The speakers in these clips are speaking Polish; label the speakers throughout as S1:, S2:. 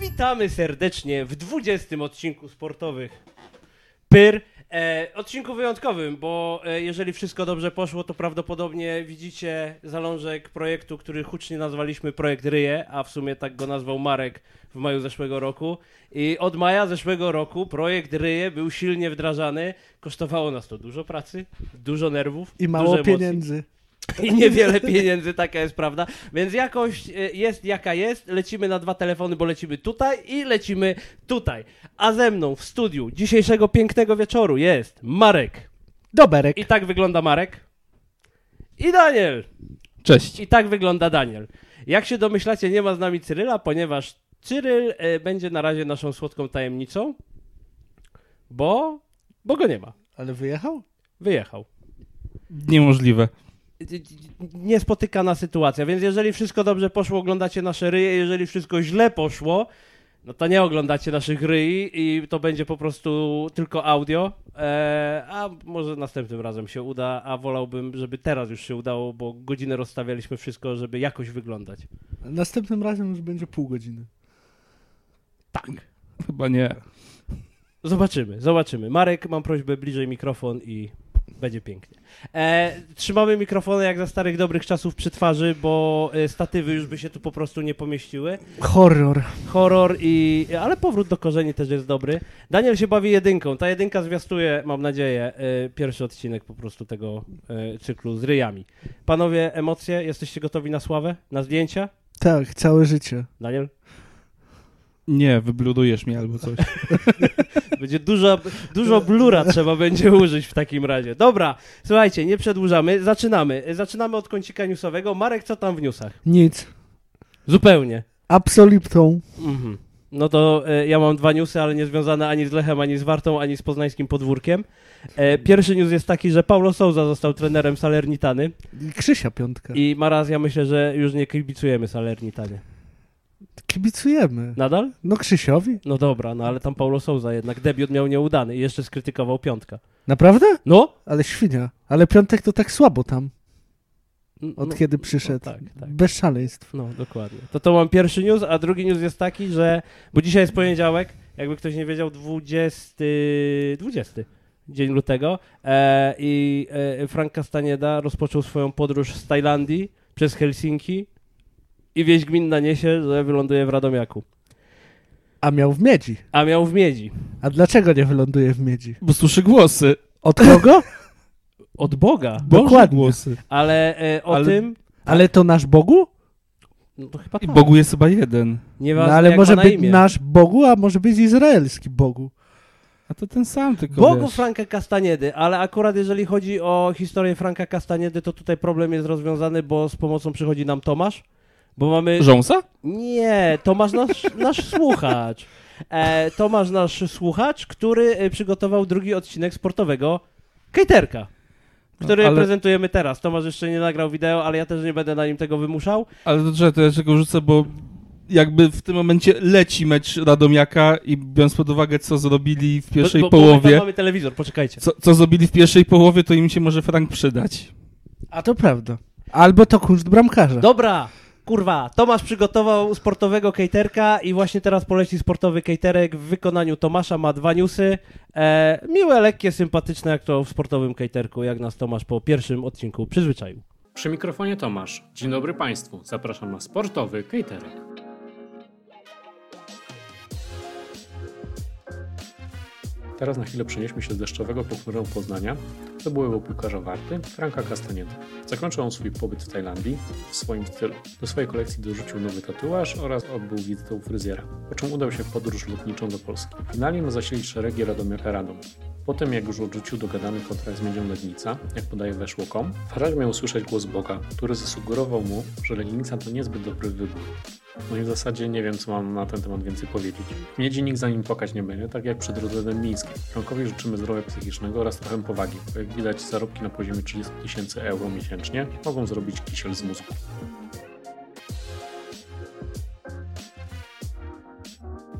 S1: Witamy serdecznie w 20 odcinku sportowych Pyr. E, odcinku wyjątkowym, bo e, jeżeli wszystko dobrze poszło, to prawdopodobnie widzicie zalążek projektu, który hucznie nazwaliśmy Projekt Ryje, a w sumie tak go nazwał Marek w maju zeszłego roku. I od maja zeszłego roku projekt Ryje był silnie wdrażany. Kosztowało nas to dużo pracy, dużo nerwów
S2: I mało
S1: dużo emocji
S2: pieniędzy.
S1: i niewiele pieniędzy, taka jest prawda. Więc jakość e, jest jaka jest. Lecimy na dwa telefony, bo lecimy tutaj i lecimy tutaj. A ze mną w studiu dzisiejszego pięknego wieczoru jest Marek.
S2: Doberek.
S1: I tak wygląda Marek. I Daniel.
S3: Cześć.
S1: I tak wygląda Daniel. Jak się domyślacie, nie ma z nami Cyryla, ponieważ Cyryl e, będzie na razie naszą słodką tajemnicą, bo, bo go nie ma.
S2: Ale wyjechał?
S1: Wyjechał.
S3: Niemożliwe.
S1: niespotykana sytuacja, więc jeżeli wszystko dobrze poszło, oglądacie nasze ryje, jeżeli wszystko źle poszło, no to nie oglądacie naszych ryj i to będzie po prostu tylko audio, e, a może następnym razem się uda, a wolałbym, żeby teraz już się udało, bo godzinę rozstawialiśmy wszystko, żeby jakoś wyglądać.
S2: Następnym razem już będzie pół godziny.
S3: Chyba nie.
S1: Zobaczymy, zobaczymy. Marek, mam prośbę bliżej mikrofon i będzie pięknie. E, trzymamy mikrofony jak za starych dobrych czasów przy twarzy, bo e, statywy już by się tu po prostu nie pomieściły.
S2: Horror.
S1: horror i... Ale powrót do korzeni też jest dobry. Daniel się bawi jedynką. Ta jedynka zwiastuje, mam nadzieję, y, pierwszy odcinek po prostu tego y, cyklu z ryjami. Panowie, emocje? Jesteście gotowi na sławę? Na zdjęcia?
S2: Tak, całe życie.
S1: Daniel?
S3: Nie, wybludujesz mnie albo coś.
S1: Będzie dużo, dużo blura trzeba będzie użyć w takim razie. Dobra, słuchajcie, nie przedłużamy. Zaczynamy. Zaczynamy od kącika newsowego. Marek, co tam w newsach?
S2: Nic.
S1: Zupełnie.
S2: Absoliptą.
S1: Mhm. No to e, ja mam dwa newsy, ale nie związane ani z Lechem, ani z Wartą, ani z poznańskim podwórkiem. E, pierwszy news jest taki, że Paulo Souza został trenerem Salernitany
S2: I Krzysia piątka.
S1: i ma raz, ja myślę, że już nie kibicujemy Salernitanie.
S2: Kibicujemy.
S1: Nadal?
S2: No Krzysiowi?
S1: No dobra, no ale tam Paulo Souza jednak debiut miał nieudany i jeszcze skrytykował piątka.
S2: Naprawdę?
S1: No?
S2: Ale świnia. Ale piątek to tak słabo tam,
S1: N-
S2: od
S1: no,
S2: kiedy przyszedł.
S1: No, tak, tak.
S2: Bez szaleństw.
S1: No, dokładnie. To to mam pierwszy news, a drugi news jest taki, że. Bo dzisiaj jest poniedziałek, jakby ktoś nie wiedział, 20. 20. Dzień lutego. E, I e, Frank Castaneda rozpoczął swoją podróż z Tajlandii przez Helsinki i wieść gminna niesie, że wyląduje w Radomiaku.
S2: A miał w miedzi.
S1: A miał w miedzi.
S2: A dlaczego nie wyląduje w miedzi?
S3: Bo słyszę głosy.
S2: Od kogo?
S1: Od Boga.
S3: Boże
S2: Dokładnie.
S3: głosy.
S1: Ale e, o
S3: Ale-
S1: tym.
S2: Ale to nasz Bogu?
S1: No to chyba
S3: I
S1: tak.
S3: Bogu jest chyba jeden.
S2: No,
S1: Nieważne,
S2: ale
S1: jak
S2: może
S1: ma na
S2: być
S1: imię.
S2: nasz Bogu, a może być izraelski Bogu.
S3: A to ten sam tylko
S1: Bogu
S3: wiesz.
S1: Franka Castaniedy, ale akurat jeżeli chodzi o historię Franka Castaniedy, to tutaj problem jest rozwiązany, bo z pomocą przychodzi nam Tomasz, bo mamy...
S3: Rząsa?
S1: Nie, Tomasz nasz, nasz słuchacz. E, Tomasz nasz słuchacz, który e, przygotował drugi odcinek sportowego Kejterka, który
S3: No, ale-
S1: prezentujemy teraz. Tomasz jeszcze nie nagrał wideo, ale ja też nie będę na nim tego wymuszał.
S3: Ale to trzeba, to ja czego rzucę, bo jakby w tym momencie leci mecz Radomiaka i biorąc pod uwagę, co zrobili w pierwszej
S1: Bo- bo- bo my tam
S3: połowie,
S1: mamy telewizor, poczekajcie.
S3: co, co zrobili w pierwszej połowie, to im się może Frank przydać.
S2: A to prawda. Albo to kunszt bramkarza.
S1: Dobra, kurwa, Tomasz przygotował sportowego caterka i właśnie teraz poleci sportowy caterek w wykonaniu Tomasza, ma dwa newsy. E, miłe, lekkie, sympatyczne, jak to w sportowym caterku, jak nas Tomasz po pierwszym odcinku przyzwyczaił.
S4: Przy mikrofonie Tomasz. Dzień dobry Państwu. Zapraszam na sportowy catering. Teraz na chwilę przenieśmy się z deszczowego pochmurnego Poznania do byłego piłkarza Warty, Franka Castanieda. Zakończył on swój pobyt w Tajlandii w swoim stylu. Do swojej kolekcji dorzucił nowy tatuaż oraz odbył wizytę u fryzjera, po czym udał się w podróż lotniczą do Polski. Finalnie ma zasilić szeregi Radomiaka Radom. Po tym, jak już odrzucił dogadany kontrakt z Miedzią Legnica, jak podaje weszło.com, Farage miał usłyszeć głos Boga, który zasugerował mu, że Legnica to niezbyt dobry wybór. No i w zasadzie nie wiem, co mam na ten temat więcej powiedzieć. Miedzi nikt za nim płakać nie będzie, tak jak przed rodzenem Mińskim. Frankowi życzymy zdrowia psychicznego oraz trochę powagi, bo jak widać zarobki na poziomie 30 tysięcy euro miesięcznie mogą zrobić kisiel z mózgu.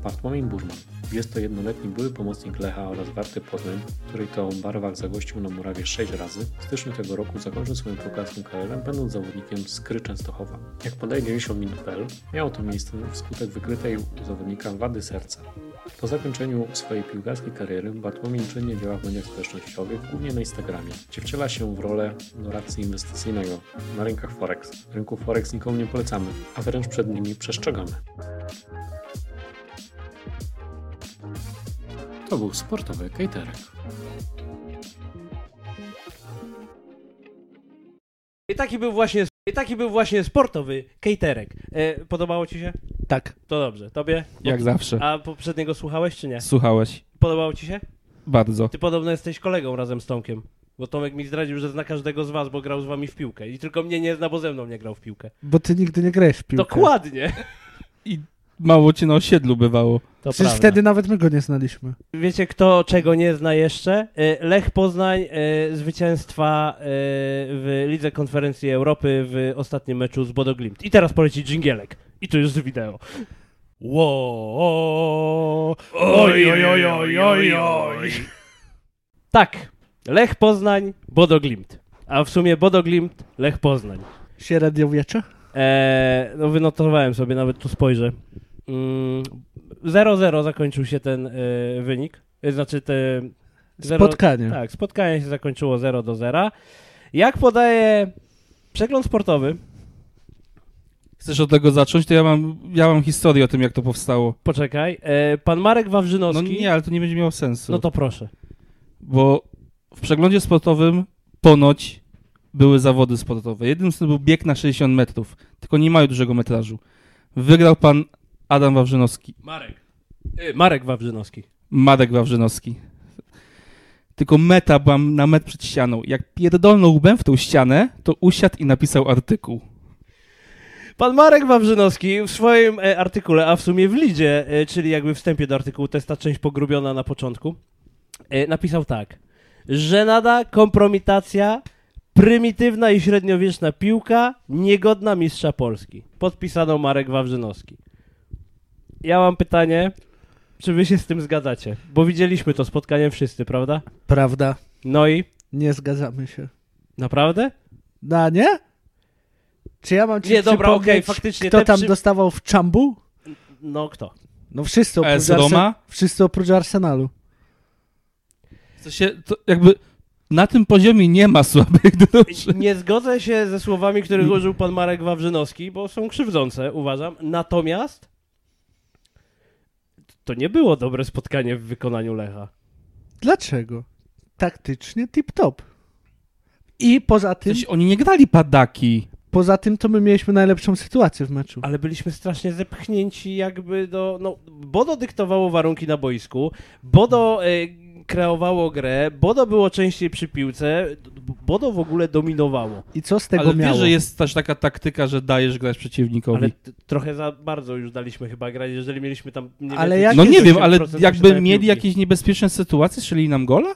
S4: Bartłomiej Burman Jest to jednoletni były pomocnik Lecha oraz Warty Poznań, której to barwach zagościł na murawie 6 razy. W styczniu tego roku zakończył swoją piłkarską karierę, będąc zawodnikiem Skry Częstochowa. Jak podaje 90 minut.pl, miało to miejsce wskutek wykrytej u zawodnika wady serca. Po zakończeniu swojej piłkarskiej kariery Bartłomiej czynnie działa w mediach społecznościowych, głównie na Instagramie, gdzie wciela się w rolę doradcy inwestycyjnego na rynkach Forex. Rynku Forex nikomu nie polecamy, a wręcz przed nimi przestrzegamy. To był sportowy caterek.
S1: I taki był właśnie, i taki był właśnie sportowy caterek. E, podobało ci się?
S2: Tak.
S1: To dobrze. Tobie?
S3: Jak zawsze.
S1: A poprzedniego słuchałeś czy nie?
S3: Słuchałeś.
S1: Podobało ci się?
S3: Bardzo.
S1: Ty podobno jesteś kolegą razem z Tomkiem. Bo Tomek mi zdradził, że zna każdego z was, bo grał z wami w piłkę. I tylko mnie nie zna, bo ze mną nie grał w piłkę.
S2: Bo ty nigdy nie grałeś w piłkę.
S1: Dokładnie.
S3: Mało cię na osiedlu bywało.
S1: To
S2: Przecież wtedy nawet my go nie znaliśmy.
S1: Wiecie, kto czego nie zna jeszcze? Y, Lech Poznań, y, zwycięstwa y, w Lidze Konferencji Europy w ostatnim meczu z Bodo Glimt. I teraz poleci dżingielek. I to już z wideo. Ło! Oj, oj, oj, oj, oj, oj. Tak. Lech Poznań, Bodo Glimt. A w sumie Bodo Glimt, Lech Poznań.
S2: Się radiowiecza?
S1: Eee, no wynotowałem sobie, nawet tu spojrzę. Mm, 0-0 zakończył się ten e, wynik. E, Znaczy te... zero-
S2: Spotkanie.
S1: Tak, spotkanie się zakończyło 0 do 0. Jak podaje przegląd sportowy,
S3: Chcesz od tego zacząć? To ja mam, ja mam historię o tym, jak to powstało.
S1: poczekaj, e, pan Marek
S3: No
S1: Wawrzynowski...
S3: nie, ale to nie będzie miało sensu.
S1: No to proszę.
S3: Bo w przeglądzie sportowym ponoć były zawody sportowe. Jednym z nich był bieg na 60 metrów, tylko nie mają dużego metrażu. Wygrał pan Adam Wawrzynowski.
S1: Marek. E, Marek Wawrzynowski.
S3: Marek Wawrzynowski. Tylko meta była na metr przed ścianą. Jak pierdolnął łbem w tą ścianę, to usiadł i napisał artykuł.
S1: Pan Marek Wawrzynowski w swoim e, artykule, a w sumie w lidzie, e, czyli jakby wstępie do artykułu, to jest ta część pogrubiona na początku, e, napisał tak. Żenada, kompromitacja, prymitywna i średniowieczna piłka, niegodna mistrza Polski. Podpisano Marek Wawrzynowski. Ja mam pytanie, czy wy się z tym zgadzacie? Bo widzieliśmy to spotkanie wszyscy, prawda?
S2: Prawda.
S1: No i?
S2: Nie zgadzamy się.
S1: Naprawdę?
S2: Na nie? Czy ja mam ci
S1: Nie, dobra,
S2: przypomnieć,
S1: okej, faktycznie,
S2: Kto
S1: te
S2: tam
S1: przy-
S2: dostawał w czambu?
S1: No kto?
S2: No wszyscy oprócz,
S3: AS E Roma?
S2: wszyscy oprócz Arsenalu.
S3: W sensie, to jakby na tym poziomie nie ma słabych drużyn.
S1: Nie zgodzę się ze słowami, których użył pan Marek Wawrzynowski, bo są krzywdzące, uważam. Natomiast to nie było dobre spotkanie w wykonaniu Lecha.
S2: Dlaczego? Taktycznie tip-top. I poza
S3: W
S2: tym,
S3: sensie, oni nie grali padaki.
S2: poza tym to my mieliśmy najlepszą sytuację w meczu.
S1: Ale byliśmy strasznie zepchnięci jakby do... No, Bodo dyktowało warunki na boisku, Bodo e, kreowało grę, Bodo było częściej przy piłce, Bodo w ogóle dominowało.
S2: I co z tego
S3: Ale
S2: miało?
S3: wiesz, że jest też taka taktyka, że dajesz grać przeciwnikowi.
S1: Ale t- trochę za bardzo już daliśmy chyba grać, jeżeli mieliśmy tam... Nie
S2: Ale
S1: więcej
S2: jak
S3: no nie wiem,
S1: 80%
S3: ale
S1: posiadania
S3: jakby mieli
S1: piłki.
S3: jakieś niebezpieczne sytuacje, strzelili nam gola?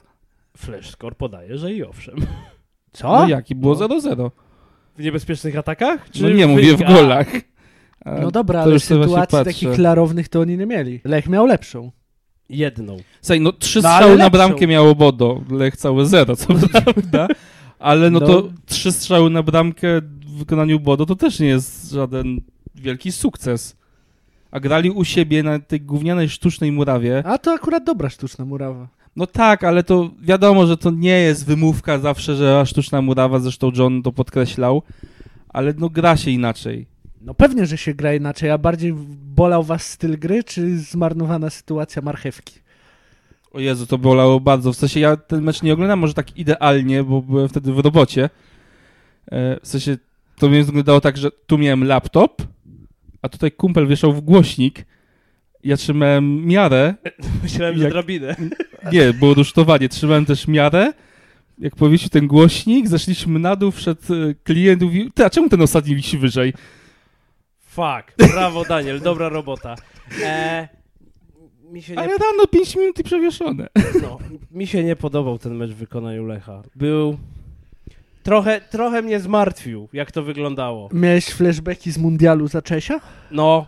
S1: Flash score podaje, że i owszem.
S2: Co?
S3: No jak? I było 0-0.
S1: W niebezpiecznych atakach? Czy
S3: No nie,
S1: w
S3: mówię w
S1: wynikach?
S3: golach. A
S2: No dobra,
S3: to
S2: ale
S3: już sobie właśnie
S2: sytuacji
S3: patrzę.
S2: takich klarownych to oni nie mieli. Lech miał lepszą.
S1: Jedną.
S3: Słuchaj, no trzy
S2: No, ale
S3: strzały na
S2: lepszą.
S3: bramkę miało Bodo, Lech całe zero, co prawda. Ale no,
S2: No.
S3: to trzy strzały na bramkę w wykonaniu Bodo to też nie jest żaden wielki sukces. A grali u siebie na tej gównianej sztucznej murawie.
S2: A to akurat dobra sztuczna murawa.
S3: No tak, ale to wiadomo, że to nie jest wymówka zawsze, że a, sztuczna murawa, zresztą John to podkreślał. Ale no gra się inaczej.
S2: No pewnie, że się gra inaczej, a bardziej bolał was styl gry, czy zmarnowana sytuacja marchewki?
S3: O Jezu, to bolało bardzo. W sensie ja ten mecz nie oglądam może tak idealnie, bo byłem wtedy w robocie. E, W sensie to mnie wyglądało tak, że tu miałem laptop, a tutaj kumpel wieszał w głośnik. Ja trzymałem miarę.
S1: Myślałem,
S3: że
S1: że drabinę.
S3: Nie, było rusztowanie. Trzymałem też miarę. Jak powiesił ten głośnik, zeszliśmy na dół, wszedł e, klient i mówił, ty, a czemu ten ostatni wisi wyżej?
S1: Fuck. Brawo, Daniel. Dobra robota. E, mi, się nie,
S3: Ale rano 5 minut i przewieszone.
S1: no, mi się nie podobał ten mecz w wykonaniu Lecha. Był... Trochę, trochę mnie zmartwił, jak to wyglądało.
S2: Miałeś flashbacki z mundialu za Czesia?
S1: No,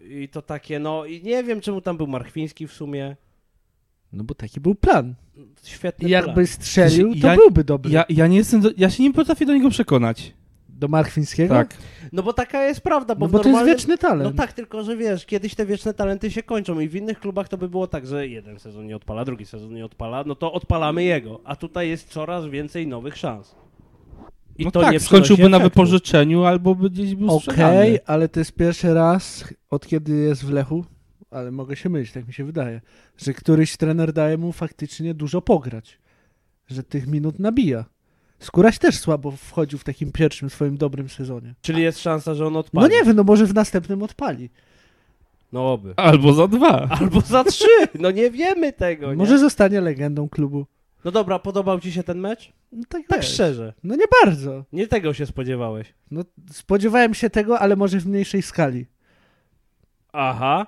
S1: I to takie, no i nie wiem czemu tam był Marchwiński w sumie.
S2: No bo taki był plan.
S1: Świetny
S2: I jakby
S1: plan.
S2: strzelił,
S3: Znaczy,
S2: to
S3: ja-
S2: byłby dobry.
S3: Ja, ja nie jestem, do, ja się nie potrafię do niego przekonać.
S2: Do Marchwińskiego?
S3: Tak.
S1: No bo taka jest prawda, bo,
S2: No
S1: w
S2: bo to jest
S1: normalnym-
S2: wieczny talent.
S1: No tak, tylko że wiesz, kiedyś te wieczne talenty się kończą i w innych klubach to by było tak, że jeden sezon nie odpala, drugi sezon nie odpala, no to odpalamy jego, a tutaj jest coraz więcej nowych szans. I
S3: no
S1: to
S3: tak,
S1: nie
S3: skończyłby
S1: przynosi
S3: na
S1: efektu.
S3: wypożyczeniu albo by gdzieś był
S2: Okej,
S3: sprzedany.
S2: ale to jest pierwszy raz, od kiedy jest w Lechu, ale mogę się mylić, tak mi się wydaje, że któryś trener daje mu faktycznie dużo pograć, że tych minut nabija. Skóraś też słabo wchodził w takim pierwszym swoim dobrym sezonie.
S1: Czyli jest szansa, że on
S2: No
S1: odpali.
S2: nie wiem, no może w następnym odpali.
S1: No oby.
S3: Albo za dwa.
S1: Albo za trzy, no nie wiemy tego, nie?
S2: Może zostanie legendą klubu.
S1: No dobra, podobał ci się ten mecz?
S2: No tak,
S1: Tak
S2: wiesz.
S1: szczerze,
S2: No nie bardzo.
S1: nie tego się spodziewałeś.
S2: No, spodziewałem się tego, ale może w mniejszej skali.
S1: Aha.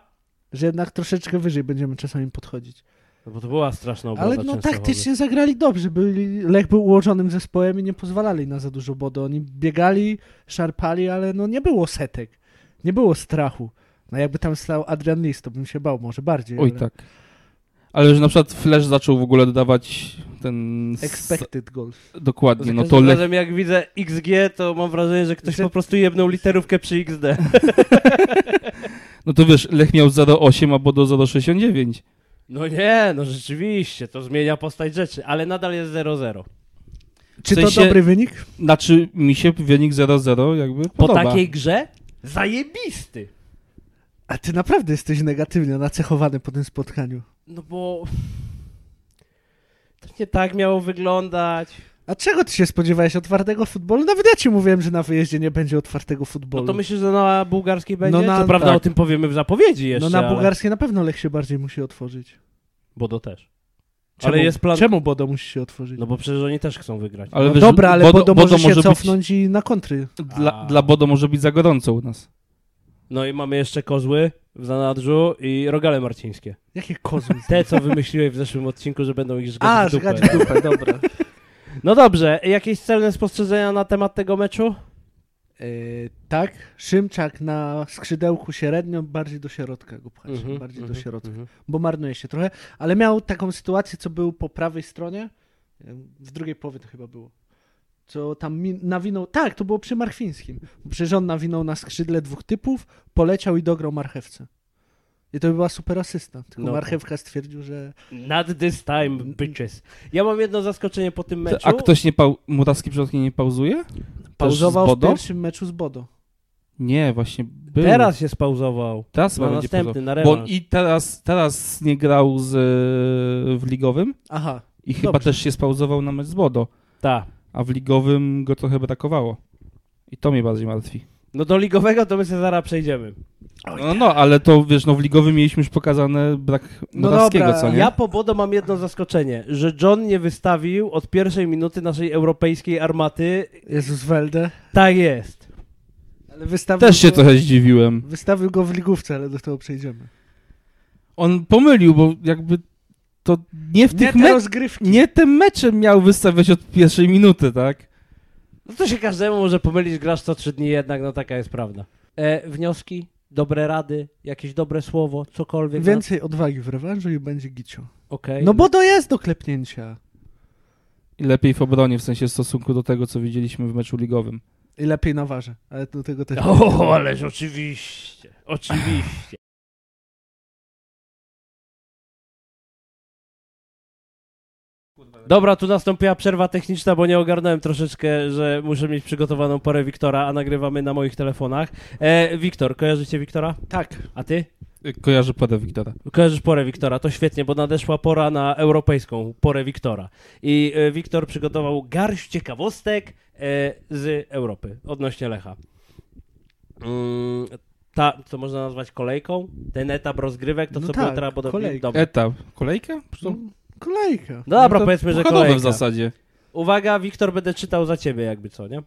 S2: Że jednak troszeczkę wyżej będziemy czasami podchodzić.
S1: No bo to była straszna obrona
S2: Ale no
S1: Częstochowy.
S2: taktycznie zagrali dobrze. Byli, Lech był ułożonym zespołem i nie pozwalali na za dużo bodu. Oni biegali, szarpali, ale no nie było setek. Nie było strachu. No jakby tam stał Adrian Lis, to bym się bał może bardziej.
S3: Oj
S2: ale...
S3: tak. Ale że na przykład Flash zaczął w ogóle dodawać ten... s-
S2: Expected goals.
S3: Dokładnie,
S1: Za
S3: no to
S1: każdym
S3: Lech...
S1: razem jak widzę XG, to mam wrażenie, że ktoś
S2: Że-
S1: po prostu jebnął literówkę przy XD.
S3: No to wiesz, Lech miał 0,8, a Bodo 0,69.
S1: No nie, no rzeczywiście, to zmienia postać rzeczy, ale nadal jest 0-0.
S2: Czy
S3: sensie-
S2: to dobry wynik?
S3: Znaczy mi się wynik 0,0 jakby
S1: Po
S3: podoba.
S1: takiej grze? Zajebisty!
S2: A ty naprawdę jesteś negatywnie nacechowany po tym spotkaniu.
S1: No bo... To nie tak miało wyglądać.
S2: A czego ty się spodziewałeś? Otwartego futbolu? Nawet ja ci mówiłem, że na wyjeździe nie będzie otwartego
S1: No
S2: futbolu.
S1: to myślisz, że na bułgarskiej będzie?
S2: No na-
S1: Co prawda
S3: tak.
S1: o tym powiemy w zapowiedzi jeszcze,
S2: no na
S1: ale...
S2: bułgarskie na pewno Lech się bardziej musi otworzyć.
S1: Bo do też.
S2: Czemu,
S1: Ale jest plan...
S2: Czemu Bodo musi się otworzyć?
S1: No bo przecież oni też chcą wygrać.
S3: Ale
S2: No
S3: wiesz,
S2: dobra, ale
S3: Bodo-
S2: Bodo,
S3: Bodo
S2: może się
S3: może być-
S2: cofnąć i na kontry.
S3: Dla, dla Bodo może być za gorąco u nas.
S1: No i mamy jeszcze kozły w zanadrzu i rogale marcińskie.
S2: Jakie kozły.
S1: Te, co wymyśliłeś w zeszłym odcinku, że będą ich żgać
S2: A,
S1: w dupę.
S2: żygać w dupę, dobra.
S1: No dobrze, jakieś celne spostrzeżenia na temat tego meczu?
S2: Yy, tak, Szymczak na skrzydełku średnio, bardziej do środka go pchać,
S1: Mhm,
S2: bardziej do
S1: mhm,
S2: środka,
S1: mhm.
S2: bo marnuje się trochę, ale miał taką sytuację, co był po prawej stronie, yy, w drugiej połowie to chyba było, co tam mi nawinął, tak, to było przy Marchwińskim, przecież on nawinął na skrzydle dwóch typów, poleciał i dograł marchewce. I to by była super asysta, tylko
S1: No tak.
S2: marchewka stwierdził, że
S1: Not this time,
S2: Mm,
S1: bitches. Ja mam jedno zaskoczenie po tym meczu.
S3: A ktoś nie pał... Murawski przypadkiem nie pauzuje? Też z
S2: pauzował w
S3: Bodo?
S2: pierwszym meczu z Bodo.
S3: Nie, właśnie był.
S1: Teraz się spauzował.
S3: Teraz
S1: Na
S3: chyba będzie
S1: następny,
S3: następny,
S1: na
S3: Bo on
S1: rewanż.
S3: i teraz, teraz nie grał z, e, w ligowym
S2: Aha,
S3: i chyba
S2: Dobrze.
S3: też się spauzował na mecz z Bodo,
S1: Tak.
S3: a w ligowym go trochę brakowało. I to mnie bardziej martwi.
S1: No do ligowego to my się zaraz przejdziemy.
S3: No, no, ale to wiesz, no w ligowym mieliśmy już pokazane brak
S2: No
S3: Murawskiego,
S2: dobra,
S3: co nie?
S1: Ja po Bodo mam jedno zaskoczenie, że John nie wystawił od pierwszej minuty naszej europejskiej armaty.
S2: Jezus Welde.
S1: Tak jest.
S2: Ale wystawił
S3: Też się
S2: go,
S3: trochę zdziwiłem.
S2: Wystawił go w ligówce, ale do tego przejdziemy.
S3: On pomylił, bo jakby to nie w tych
S2: nie te
S3: meczach.
S2: rozgrywki.
S3: Nie tym meczem miał wystawiać od pierwszej minuty, tak?
S1: No to się każdemu może pomylić, grasz co trzy dni jednak, no taka jest prawda. E, wnioski, dobre rady, jakieś dobre słowo, cokolwiek. no.
S2: Więcej odwagi w rewanżu i będzie gicio.
S1: Okej.
S2: No bo to jest do klepnięcia.
S3: I lepiej w obronie, w sensie w stosunku do tego, co widzieliśmy w meczu ligowym.
S2: I lepiej na warze, ale do tego też... no.
S1: O, ależ oczywiście. Oczywiście. Dobra, tu nastąpiła przerwa techniczna, bo nie ogarnąłem troszeczkę, że muszę mieć przygotowaną porę Wiktora, a nagrywamy na moich telefonach. E, Wiktor, kojarzycie Wiktora?
S2: Tak.
S1: A ty?
S3: Kojarzę podę Wiktora.
S1: Kojarzysz porę Wiktora, to świetnie, bo nadeszła pora na europejską porę Wiktora. I e, Wiktor przygotował garść ciekawostek e, z Europy odnośnie Lecha. Mm, ta, co można nazwać kolejką, ten etap rozgrywek, to
S2: No
S1: co
S2: tak,
S1: było teraz podobnie.
S2: kolejka.
S1: Dobra,
S3: Etap. Kolejka?
S2: No, kolejka.
S1: Dobra
S3: No to
S1: powiedzmy, że
S3: pochodowe
S1: kolejka.
S3: w zasadzie.
S1: Uwaga, Wiktor będę czytał za ciebie, jakby co, nie?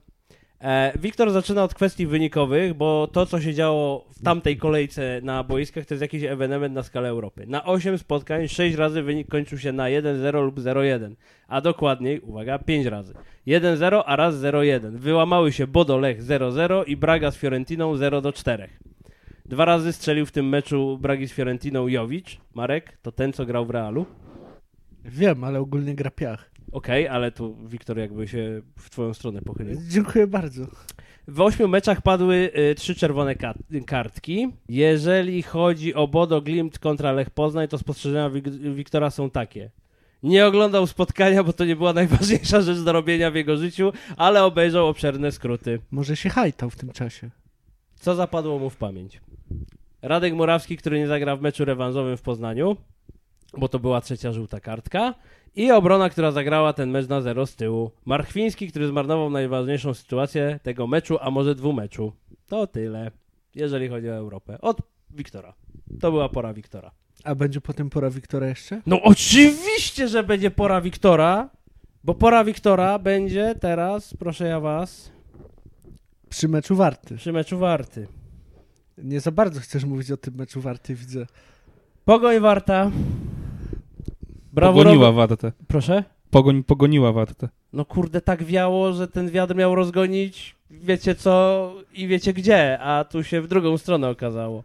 S1: E, Wiktor zaczyna od kwestii wynikowych, bo to, co się działo w tamtej kolejce na boiskach, to jest jakiś ewenement na skalę Europy. Na 8 spotkań 6 razy wynik kończył się na 1-0 lub 0-1, a dokładniej, uwaga, 5 razy. 1-0, a raz 0-1. Wyłamały się Bodo Lech 0-0 i Braga z Fiorentiną 0-4. Dwa razy strzelił w tym meczu Bragi z Fiorentiną Jowicz. Marek, to ten, co grał w Realu.
S2: Wiem, ale ogólnie gra piach.
S1: Okej, ale tu Wiktor jakby się w twoją stronę pochylił.
S2: Dziękuję bardzo.
S1: W ośmiu meczach padły y, trzy czerwone ka- kartki. Jeżeli chodzi o Bodo Glimt kontra Lech Poznań, to spostrzeżenia Wik- Wiktora są takie. Nie oglądał spotkania, bo to nie była najważniejsza rzecz do robienia w jego życiu, ale obejrzał obszerne skróty.
S2: Może się hajtał w tym czasie.
S1: Co zapadło mu w pamięć? Radek Murawski, który nie zagra w meczu rewanżowym w Poznaniu, bo to była trzecia żółta kartka. I obrona, która zagrała ten mecz na zero z tyłu. Marchwiński, który zmarnował najważniejszą sytuację tego meczu, a może dwumeczu. To tyle, jeżeli chodzi o Europę. Od Wiktora. To była pora Wiktora.
S2: A będzie potem pora Wiktora jeszcze?
S1: No oczywiście, że będzie pora Wiktora, bo pora Wiktora będzie teraz, proszę ja was,
S2: Przy meczu Warty.
S1: przy meczu Warty.
S2: Nie za bardzo chcesz mówić o tym meczu Warty, widzę.
S1: Pogoń Warta.
S3: Pogoniła Wartę.
S1: Proszę?
S3: Pogoń, pogoniła Wartę.
S1: No kurde, tak wiało, że ten wiatr miał rozgonić wiecie co i wiecie gdzie, a tu się w drugą stronę okazało.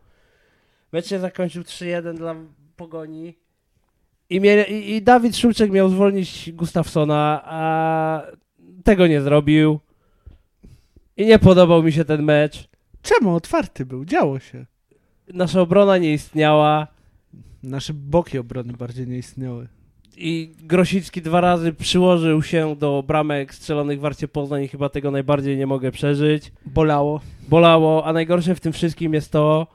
S1: Mecz się zakończył 3-1 dla Pogoni. I, mie- i, I Dawid Szumczyk miał zwolnić Gustafsona, a tego nie zrobił. I nie podobał mi się ten mecz.
S2: Czemu? Otwarty był, działo się.
S1: Nasza obrona nie istniała.
S2: Nasze boki obrony bardziej nie istniały.
S1: I Grosicki dwa razy przyłożył się do bramek strzelonych w Warcie Poznań i chyba tego najbardziej nie mogę przeżyć.
S2: Bolało.
S1: Bolało, a najgorsze w tym wszystkim jest to,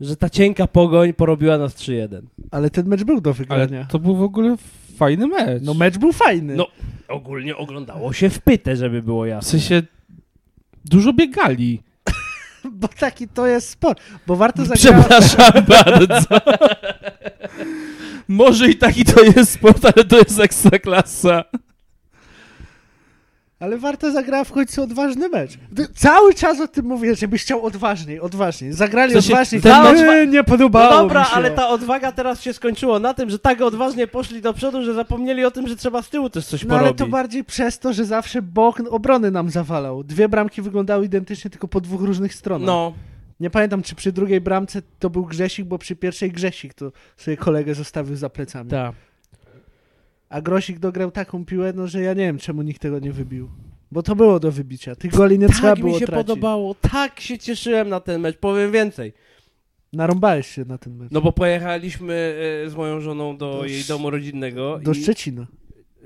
S1: że ta cienka pogoń porobiła nas 3-1.
S2: Ale ten mecz był do
S3: Ale
S2: wygrania.
S3: to był w ogóle fajny mecz.
S2: No mecz był fajny.
S1: No. Ogólnie oglądało się w pytę, żeby było
S3: W
S1: jasne.
S3: sensie dużo biegali.
S2: Bo taki to jest sport. Bo Warta
S1: Tak.
S2: zagrała...
S3: Przepraszam bardzo. Może i taki to jest sport, ale to jest ekstraklasa.
S2: Ale Warta zagrała w końcu odważny mecz. Ty- Cały czas o tym mówię, żebyś chciał odważniej, odważniej. Zagrali
S3: W sensie
S2: odważniej.
S3: ten
S2: Za-
S3: mecz-
S2: Yy, nie
S1: No
S2: podobało mi
S1: dobra,
S2: się.
S1: ale ta odwaga teraz się skończyła na tym, że tak odważnie poszli do przodu, że zapomnieli o tym, że trzeba z tyłu też coś
S2: No ale
S1: porobić.
S2: to bardziej przez to, że zawsze bok obrony nam zawalał. Dwie bramki wyglądały identycznie, tylko po dwóch różnych stronach.
S1: No,
S2: Nie pamiętam, czy przy drugiej bramce to był Grzesik, bo przy pierwszej Grzesik to sobie kolegę zostawił za plecami.
S1: tak.
S2: A Grosik dograł taką piłę, no że ja nie wiem, czemu nikt tego nie wybił. Bo to było do wybicia. Tych goli nie trzeba
S1: Tak
S2: było
S1: mi się
S2: tracić.
S1: podobało, tak się cieszyłem na ten mecz, powiem więcej.
S2: Narąbałeś się na ten mecz.
S1: No bo pojechaliśmy e, z moją żoną do,
S2: Do
S1: jej
S2: Sz-
S1: domu rodzinnego.
S2: Do
S1: No i...
S2: Szczecina.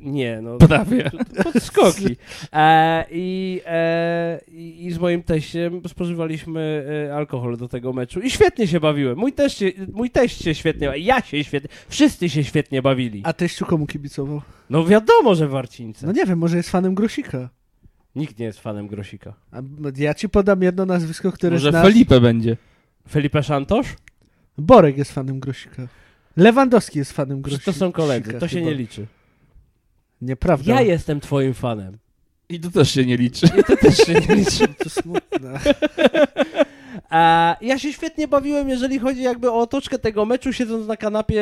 S1: Nie, no.
S3: Prawie.
S1: Podskoki. E, i, e, i, I z moim teściem spożywaliśmy e, alkohol do tego meczu. I świetnie się bawiłem. Mój teść, się- mój teść się świetnie, ja się świetnie, wszyscy się świetnie bawili.
S2: A teściu komu kibicował?
S1: No wiadomo, że Warcińce.
S2: No nie wiem, może jest fanem Grosika.
S1: Nikt nie jest fanem Grosika.
S2: A m- ja ci podam jedno nazwisko, które
S3: Może
S2: znasz.
S3: Felipe będzie.
S1: Felipe Santosz?
S2: Borek jest fanem Grosika. Lewandowski jest fanem
S1: Przecież
S2: Grosika.
S1: To są koledzy, to się
S2: chyba.
S1: nie liczy. No.
S2: Nieprawda.
S1: Ja jestem twoim fanem.
S3: I to też się nie liczy.
S1: To też się nie liczy.
S2: To smutne.
S1: A ja się świetnie bawiłem, jeżeli chodzi jakby o otoczkę tego meczu, siedząc na kanapie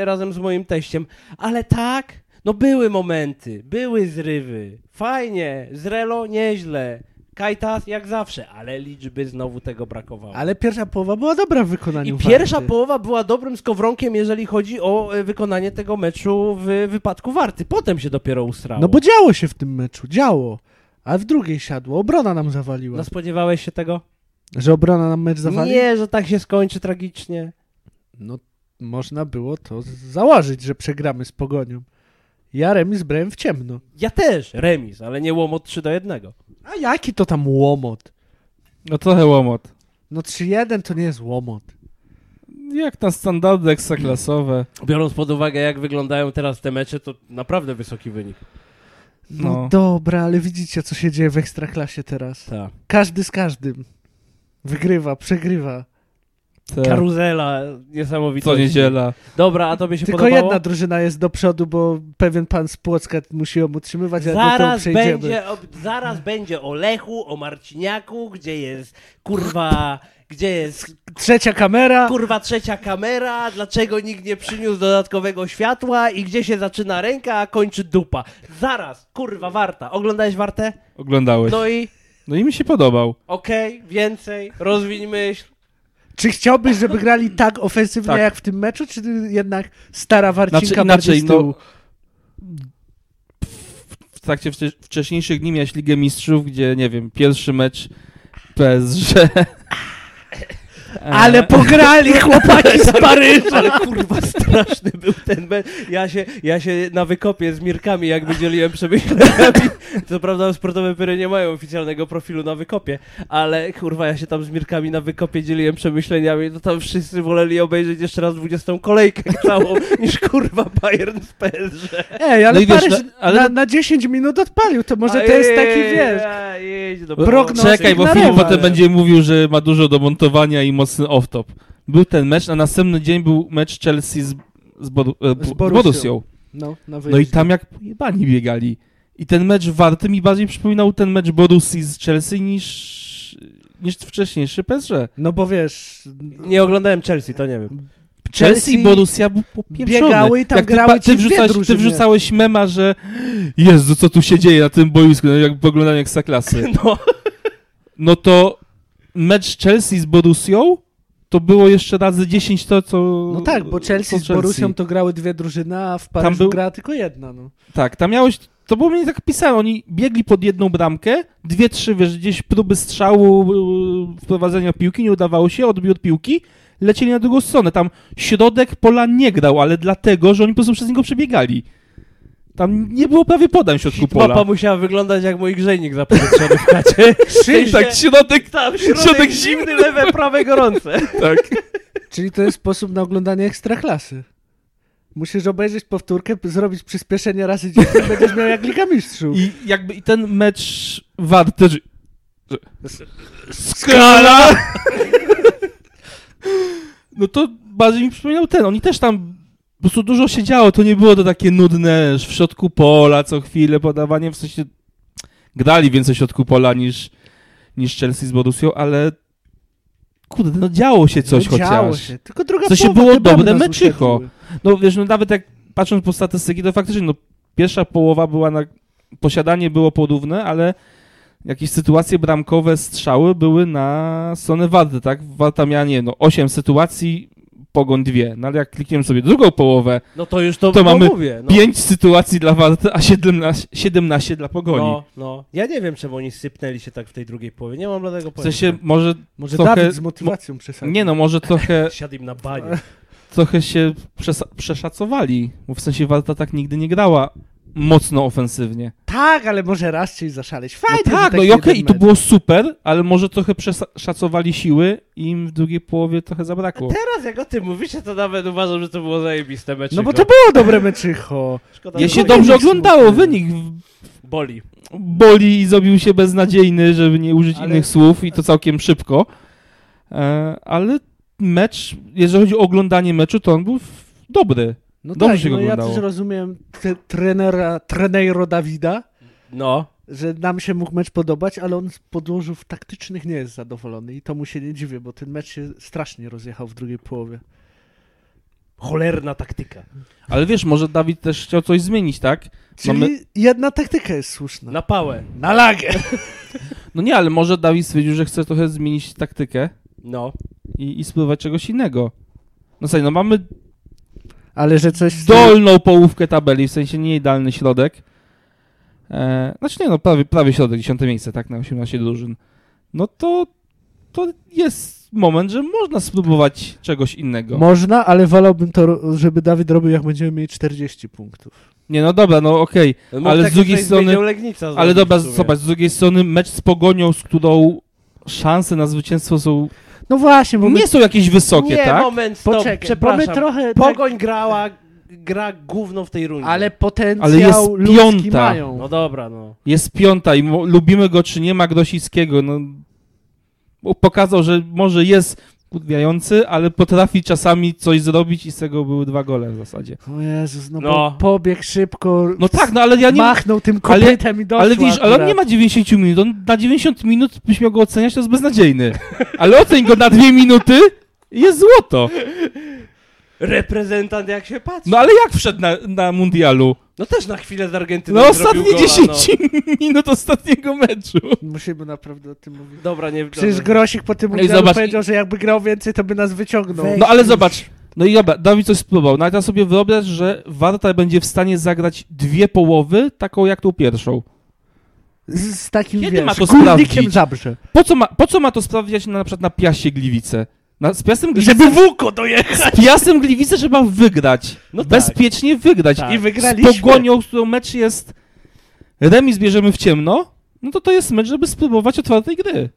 S1: e, razem z moim teściem. Ale tak, no były momenty, były zrywy. Fajnie, zrelo nieźle. Kajtas jak zawsze, ale liczby znowu tego brakowało.
S2: Ale pierwsza połowa była dobra w
S1: I
S2: wykonaniu
S1: pierwsza
S2: Warty.
S1: połowa była dobrym skowronkiem, jeżeli chodzi o e, wykonanie tego meczu w wypadku Warty. Potem się dopiero usrało.
S2: No bo działo się w tym meczu, działo. A w drugiej siadło, obrona nam zawaliła.
S1: No spodziewałeś się tego?
S2: Że obrona nam mecz zawali?
S1: Nie, że tak się skończy tragicznie.
S2: No można było to z- założyć, że przegramy z Pogonią. Ja remis brałem w ciemno.
S1: Ja też, remis, ale nie łomot 3 do 1.
S2: A jaki to tam łomot?
S3: No trochę łomot.
S2: No 3-1 to nie jest łomot.
S3: Jak na standardy ekstraklasowe.
S1: Biorąc pod uwagę, jak wyglądają teraz te mecze, to naprawdę wysoki wynik.
S2: No,
S3: No.
S2: dobra, ale widzicie, co się dzieje w Ekstraklasie teraz.
S1: Tak.
S2: Każdy z każdym. Wygrywa, przegrywa.
S3: Te,
S1: Karuzela niesamowita.
S3: co niedziela.
S1: Dobra, a tobie się
S2: Tylko
S1: podobało?
S2: jedna drużyna jest do przodu, bo pewien pan z Płocka musi ją utrzymywać, ale do tego
S1: Zaraz
S2: przejdziemy.
S1: będzie, o, zaraz będzie o Lechu, o Marciniaku, gdzie jest kurwa, gdzie jest
S2: Trzecia kamera.
S1: kurwa trzecia kamera, dlaczego nikt nie przyniósł dodatkowego światła i gdzie się zaczyna ręka, a kończy dupa. Zaraz, kurwa, warta. Oglądałeś wartę?
S3: Oglądałeś.
S1: No i
S3: No i mi się podobał.
S1: okej, więcej, rozwiń myśl.
S2: Czy chciałbyś, żeby grali tak ofensywnie
S3: Tak.
S2: jak w tym meczu, czy jednak stara warcinka
S3: Znaczy
S2: bardziej
S3: inaczej,
S2: z tyłu?
S3: no... w- W trakcie wcze- wcześniejszych dni miałeś Ligę Mistrzów, gdzie, nie wiem, pierwszy mecz PSG... e.
S2: Ale pograli chłopaki z Paryża!
S1: Ale kurwa straszny był ten mecz. Ja się, ja się na wykopie z Mirkami jakby dzieliłem przemyśleniami. Co prawda sportowe pyry nie mają oficjalnego profilu na wykopie, ale kurwa ja się tam z Mirkami na wykopie dzieliłem przemyśleniami. No tam wszyscy woleli obejrzeć jeszcze raz 20 kolejkę całą niż kurwa Bayern z PSG.
S2: Ej, ale
S3: No i wiesz,
S2: Paryż
S3: no- ale-
S2: Na, na 10 minut odpalił, to może
S1: A
S2: to jest taki,
S1: jedź,
S2: wiesz...
S1: a jedź do
S2: prognostyk
S1: Polski.
S3: Czekaj, bo
S2: na
S3: Filip
S2: rewal.
S3: potem będzie mówił, że ma dużo do montowania i mocny off-top. Był ten mecz, a następny dzień był mecz Chelsea z, z, Boru, e,
S2: Z
S3: z
S2: Borussią.
S3: Borussią.
S2: No, na
S3: No i
S2: wyjeździe.
S3: tam jak pojebani biegali. I ten mecz warty mi bardziej przypominał ten mecz Borussii z Chelsea niż, niż wcześniejszy PSG.
S2: No bo wiesz...
S1: Nie oglądałem Chelsea, to nie wiem.
S3: Chelsea i Borussia był popieprzony.
S2: biegały i tam
S3: Jak ty,
S2: grały
S3: pa-
S2: ci
S3: ty,
S2: dwie
S3: wrzucałeś, ty
S2: drużyny.
S3: wrzucałeś mema, że Jezu, co tu się dzieje na tym boisku, no, jak wyglądają jak saklasy.
S1: No,
S3: no to mecz Chelsea z Borussią to było jeszcze razy 10 to, co.
S2: No tak, bo Chelsea
S3: co
S2: z Borusią to grały dwie drużyny, a w Paryżu
S3: był-
S2: grała tylko jedna, no.
S3: Tak, tam miałeś. To było mnie tak pisane. Oni biegli pod jedną bramkę, dwie, trzy, wiesz, gdzieś próby strzału, yy, wprowadzenia piłki, nie udawało się, odbiór od piłki, lecieli na drugą stronę. Tam środek pola nie grał, ale dlatego, że oni po prostu przez niego przebiegali. Tam nie było prawie podań w środku
S1: mapa
S3: pola.
S1: musiała wyglądać jak mój grzejnik zapowietrzony w chacie.
S3: Czyli tak, środek,
S1: Tam
S3: środek
S1: środek
S3: zimny,
S1: zimny, lewe, prawe, gorące.
S3: tak.
S2: Czyli to jest sposób na oglądanie ekstraklasy. Musisz obejrzeć powtórkę, p- zrobić przyspieszenie raz i dziesięć, będziesz miał jak Liga Mistrzów.
S3: I jakby i ten mecz wart też. Skala! No to bardziej mi przypominał ten. Oni też tam po prostu dużo się działo. To nie było to takie nudne że w środku pola co chwilę podawanie. W sensie grali więcej w środku pola niż, niż Chelsea z Borussią, ale kurde, no działo się coś
S2: No
S3: chociaż.
S2: działo się. Tylko druga
S3: Coś się
S2: połowa,
S3: było
S2: te bramki
S3: dobre
S2: nas
S3: meczycho.
S2: uświetliły.
S3: No wiesz, no nawet jak patrząc po statystyki, to faktycznie no, pierwsza połowa była na... Posiadanie było porówne, ale jakieś sytuacje bramkowe, strzały były na stronę Warty, tak? Warta miała, nie no, 8 sytuacji, Pogoń dwie. No ale jak klikniemy sobie drugą połowę,
S1: No to już to,
S3: To
S1: to
S3: mamy
S1: mówię. No.
S3: pięć 5 sytuacji dla Warty, a 17, 17 dla Pogoni.
S1: No, no. Ja nie wiem, czemu oni sypnęli się tak w tej drugiej połowie. Nie mam bladego
S3: w
S1: pojęcia.
S3: sensie może,
S2: Może
S3: trochę-
S2: Dawid z motywacją
S1: Tak.
S2: przesadził.
S3: nie no, może trochę,
S1: Siadł im na banie.
S3: trochę się przesa- przeszacowali, bo w sensie Warta tak nigdy nie grała mocno ofensywnie.
S2: Tak, ale może raz chcieli zaszaleć. Fajnie,
S3: no
S2: że
S3: tak, no
S2: taki
S3: i okej,
S2: jeden
S3: i to
S2: mecz.
S3: było super, ale może trochę przeszacowali siły i im w drugiej połowie trochę zabrakło.
S1: Teraz jak o tym mówisz, to nawet uważam, że to było zajebiste meczyko.
S2: No bo to było dobre meczycho.
S1: Szkoda,
S3: Ja
S1: że
S3: się
S1: to
S3: dobrze
S2: smutny.
S3: oglądało, wynik w-
S1: boli.
S3: boli i zrobił się beznadziejny, żeby nie użyć
S2: Ale-
S3: innych słów i to całkiem szybko. E, ale mecz, jeżeli chodzi o oglądanie meczu, to on był f- dobry.
S2: No
S3: Dobrze
S2: tak,
S3: się
S2: no ja
S3: oglądało.
S2: też rozumiem te, trenera, trenero Dawida,
S1: No.
S2: że nam się mógł mecz podobać, ale on z podłożów taktycznych nie jest zadowolony i to mu się nie dziwię, bo ten mecz się strasznie rozjechał w drugiej połowie.
S1: Cholerna taktyka.
S3: Ale wiesz, może Dawid też chciał coś zmienić, tak?
S2: Czyli
S3: Mamy-
S2: jedna taktyka jest słuszna.
S1: Na pałę.
S2: Na lagę!
S3: No nie, ale może Dawid stwierdził, że chce trochę zmienić taktykę
S1: No.
S3: i, i spływać czegoś innego. No słuchaj, no mamy
S2: Ale że coś...
S3: dolną połówkę tabeli, w sensie nie idealny środek. E, znaczy nie, no prawie, prawie środek, 10 miejsce, tak, na 18 drużyn. No to, to jest moment, że można spróbować czegoś innego.
S2: Można, ale wolałbym to, ro- żeby Dawid robił, jak będziemy mieli 40 punktów.
S3: nie, no dobra, no okej,
S1: Mógł
S3: ale
S1: tak
S3: z drugiej
S1: tutaj
S3: strony...
S1: zmieniał Legnica
S3: Ale
S1: zrobić
S3: dobra,
S1: w sumie.
S3: zobacz, z drugiej strony mecz z Pogonią, z którą szanse na zwycięstwo są...
S2: No właśnie, bo my...
S3: Nie są jakieś wysokie,
S1: nie,
S3: tak?
S1: moment, stop,
S2: Poczekaj, bo
S1: przepraszam.
S2: my trochę... tak-
S1: Pogoń grała, gra gówno w tej rundzie.
S2: Ale potencjał
S3: Ale jest
S2: ludzki
S3: piąta.
S2: mają.
S1: No dobra, no.
S3: Jest piąta i mo- lubimy go czy nie, ma Grosickiego, no... Bo Pokazał, że może jest kudwiający, ale potrafi czasami coś zrobić i z tego były dwa gole w zasadzie.
S2: O Jezus, no,
S1: No.
S2: Bo pobiegł szybko,
S3: No tak, no ale ja nie...
S2: machnął tym
S3: Ale-
S2: kopytem i doszło
S3: ale widzisz, ale on nie ma 90 minut, on na 90 minut byś miał go oceniać, to jest beznadziejny. Ale oceń go na dwie minuty i jest złoto.
S1: Reprezentant jak się patrzy.
S3: No ale jak wszedł na, na mundialu?
S1: No też na chwilę z Argentyną
S3: No
S1: zrobił
S3: ostatnie
S1: gola, no.
S3: 10 minut ostatniego meczu.
S2: Musimy naprawdę o tym mówić.
S1: No. Dobra, nie
S2: Przecież
S1: dobra.
S2: Grosik po tym
S3: Ej,
S2: mundialu
S3: zobacz,
S2: powiedział, że jakby grał więcej, to by nas wyciągnął.
S1: Weź.
S3: No ale zobacz. No i dobra, Dawid coś spróbował. No ale teraz sobie wyobraź, że Warta będzie w stanie zagrać dwie połowy, taką jak tą pierwszą.
S2: Z, z takim,
S3: Kiedy
S2: wiesz,
S3: ma to
S2: górnikiem
S3: sprawdzić?
S2: Zabrze.
S3: Po co ma, po co ma to sprawdzać na, na przykład na Piasie Gliwice? Na, z Piasem Gliwice,
S2: Żeby Wuko dojechać!
S3: z Piasem Gliwice trzeba wygrać.
S1: No tak.
S3: Bezpiecznie wygrać.
S1: Tak.
S2: I
S3: Z
S2: wygraliśmy.
S3: Pogonią, z którą mecz jest remis bierzemy w ciemno, no to to jest mecz, żeby spróbować otwartej gry.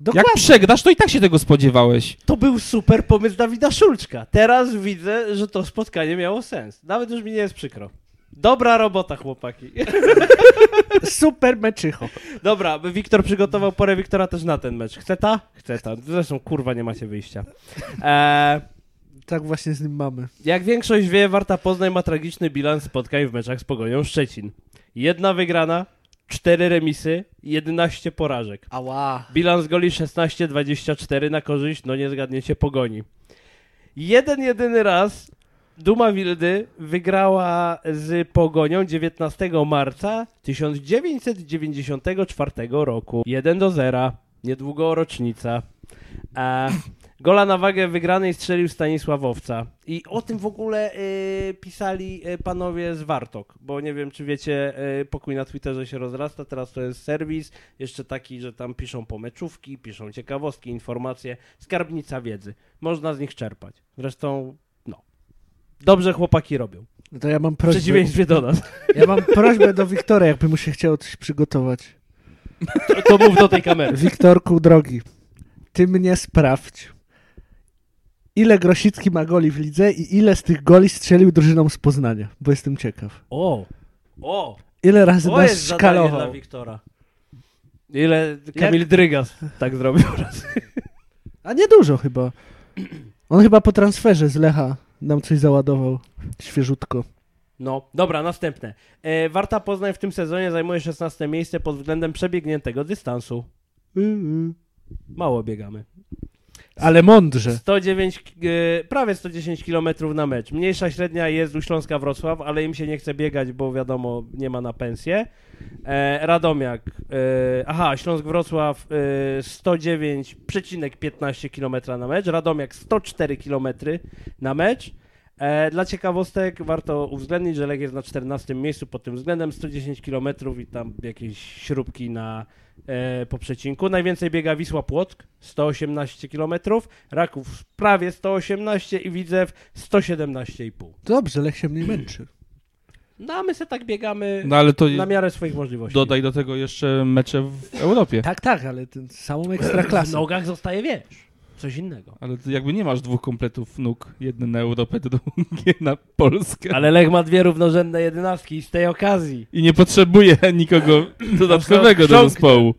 S2: Dokładnie.
S3: Jak przegrasz, to i tak się tego spodziewałeś.
S1: To był super pomysł Dawida Szulczka. Teraz widzę, że to spotkanie miało sens. Nawet już mi nie jest przykro. Dobra robota, chłopaki.
S2: Super meczycho.
S1: Dobra, by Wiktor przygotował porę Wiktora też na ten mecz. Chce ta? Chce ta. Zresztą kurwa nie macie wyjścia. Eee,
S2: Tak właśnie z nim mamy.
S1: jak większość wie, Warta Poznań ma tragiczny bilans spotkań w meczach z Pogonią Szczecin. Jedna wygrana, cztery remisy, 11 porażek.
S2: Ała.
S1: Bilans goli 16-24 na korzyść, no nie zgadniecie, Pogoni. Jeden jedyny raz Duma Wildy wygrała z Pogonią 19 marca 1994 roku. 1 do 0, niedługo rocznica. A gola na wagę wygranej strzelił Stanisławowca. I o tym w ogóle y, pisali y, panowie z Wartok, bo nie wiem, czy wiecie, y, pokój na Twitterze się rozrasta, teraz to jest serwis, jeszcze taki, że tam piszą pomeczówki, piszą ciekawostki, informacje, skarbnica wiedzy. Można z nich czerpać. Zresztą, no. Dobrze chłopaki robią.
S2: No to ja mam
S1: W
S2: prośbę.
S1: przeciwieństwie do nas.
S2: Ja mam prośbę do Wiktora, jakby mu się chciało coś przygotować.
S1: To, to mów do tej kamery.
S2: Wiktorku, drogi, ty mnie sprawdź. Ile Grosicki ma goli w lidze i ile z tych goli strzelił drużyną z Poznania? Bo jestem ciekaw.
S1: O! O!
S2: Ile razy
S1: To
S2: nas
S1: jest zadanie dla
S2: szkalował?
S1: Wiktora. Ile Kamil Drygas tak zrobił raz.
S2: A nie dużo chyba. On chyba po transferze z Lecha nam coś załadował. Świeżutko.
S1: No, dobra, następne. E, Warta Poznań w tym sezonie zajmuje 16 miejsce pod względem przebiegniętego dystansu. Mało biegamy.
S2: Ale mądrze.
S1: 109, k- e, prawie 110 km na mecz. Mniejsza średnia jest u Śląska Wrocław, ale im się nie chce biegać, bo wiadomo, nie ma na pensję. E, Radomiak, e, aha, Śląsk Wrocław e, 109,15 km na mecz. Radomiak 104 km na mecz. E, dla ciekawostek warto uwzględnić, że Lech jest na 14 miejscu pod tym względem 110 km i tam jakieś śrubki na e, po przecinku. Najwięcej biega Wisła Płock 118 km, Raków prawie 118 i Widzew 117,5.
S2: Dobrze, Lech się mnie męczy.
S1: No a my se tak biegamy
S3: No ale to
S1: na miarę swoich możliwości.
S3: dodaj do tego jeszcze mecze w Europie.
S2: Tak, tak, ale ten samą
S1: W
S2: ekstraklasę.
S1: nogach zostaje, wiesz, coś innego.
S3: Ale ty jakby nie masz dwóch kompletów nóg, jedny na Europę, drugi na Polskę.
S1: Ale Lech ma dwie równorzędne jedenastki i z tej okazji,
S3: I nie potrzebuje nikogo dodatkowego do
S1: Ksiąg-
S3: zespołu.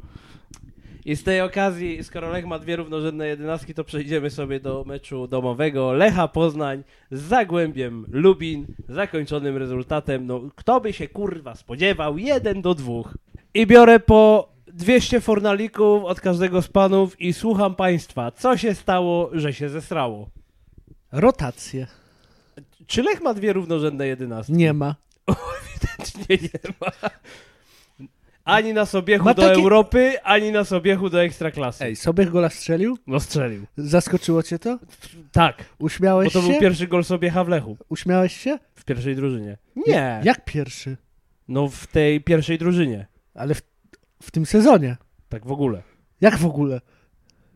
S1: i z tej okazji, skoro Lech ma dwie równorzędne jedenastki, to przejdziemy sobie do meczu domowego Lecha Poznań z Zagłębiem Lubin, zakończonym rezultatem, no kto by się kurwa spodziewał, 1 do 2. I biorę po 200 fornalików od każdego z panów i słucham państwa, co się stało, że się zesrało.
S2: Rotacje.
S1: Czy Lech ma dwie równorzędne jedenastki?
S2: Nie ma.
S1: Nie, nie ma. Ani na Sobiechu
S2: Ma
S1: do
S2: taki-
S1: Europy, ani na Sobiechu do Ekstraklasy.
S2: Ej, Sobiech gola strzelił?
S1: No strzelił.
S2: Zaskoczyło cię to?
S1: Tak, bo
S2: Uśmiałeś
S1: to
S2: się?
S1: był pierwszy gol Sobiecha w Lechu.
S2: Uśmiałeś się?
S1: W pierwszej drużynie. Nie.
S2: Jak pierwszy?
S1: No w tej pierwszej drużynie.
S2: Ale w, w tym sezonie.
S1: Tak w ogóle.
S2: Jak w ogóle?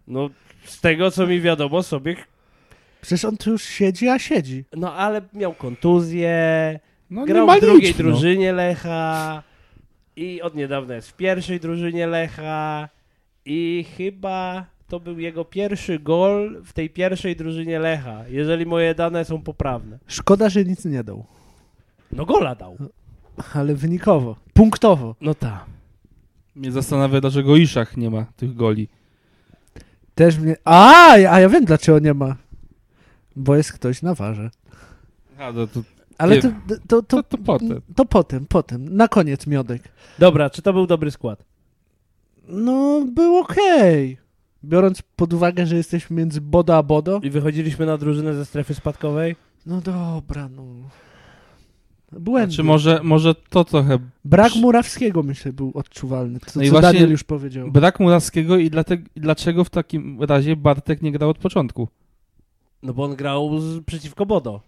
S1: No z tego co mi wiadomo Sobiech...
S2: Przecież on tu już siedzi, a siedzi.
S1: No ale miał kontuzję,
S3: No,
S1: grał
S3: ma
S1: w drugiej
S3: nic, no.
S1: drużynie Lecha i od niedawna jest w pierwszej drużynie Lecha i chyba to był jego pierwszy gol w tej pierwszej drużynie Lecha, jeżeli moje dane są poprawne.
S2: Szkoda, że nic nie dał.
S1: No gola dał.
S2: Ale wynikowo. Punktowo.
S1: No tak.
S3: Mnie zastanawia, dlaczego Iszach nie ma tych goli.
S2: Też mnie... A, a ja wiem dlaczego nie ma. Bo jest ktoś na warze.
S3: A, no, to,
S2: Ale
S3: Nie.
S2: to, to, to,
S3: to, to potem.
S2: to potem, potem. Na koniec miodek.
S1: Dobra, czy to był dobry skład?
S2: No, był okej. Biorąc pod uwagę, że jesteśmy między Bodo a Bodo.
S1: I wychodziliśmy na drużynę ze strefy spadkowej?
S2: No dobra, no. Błędy.
S3: Czy Znaczy, może, może to trochę
S2: Brak Murawskiego, myślę, był odczuwalny. To,
S3: No i
S2: co
S3: właśnie-
S2: Daniel już powiedział.
S3: brak Muraskiego i dlatego, i dlaczego w takim razie Bartek nie grał od początku?
S1: No bo on grał z, przeciwko Bodo.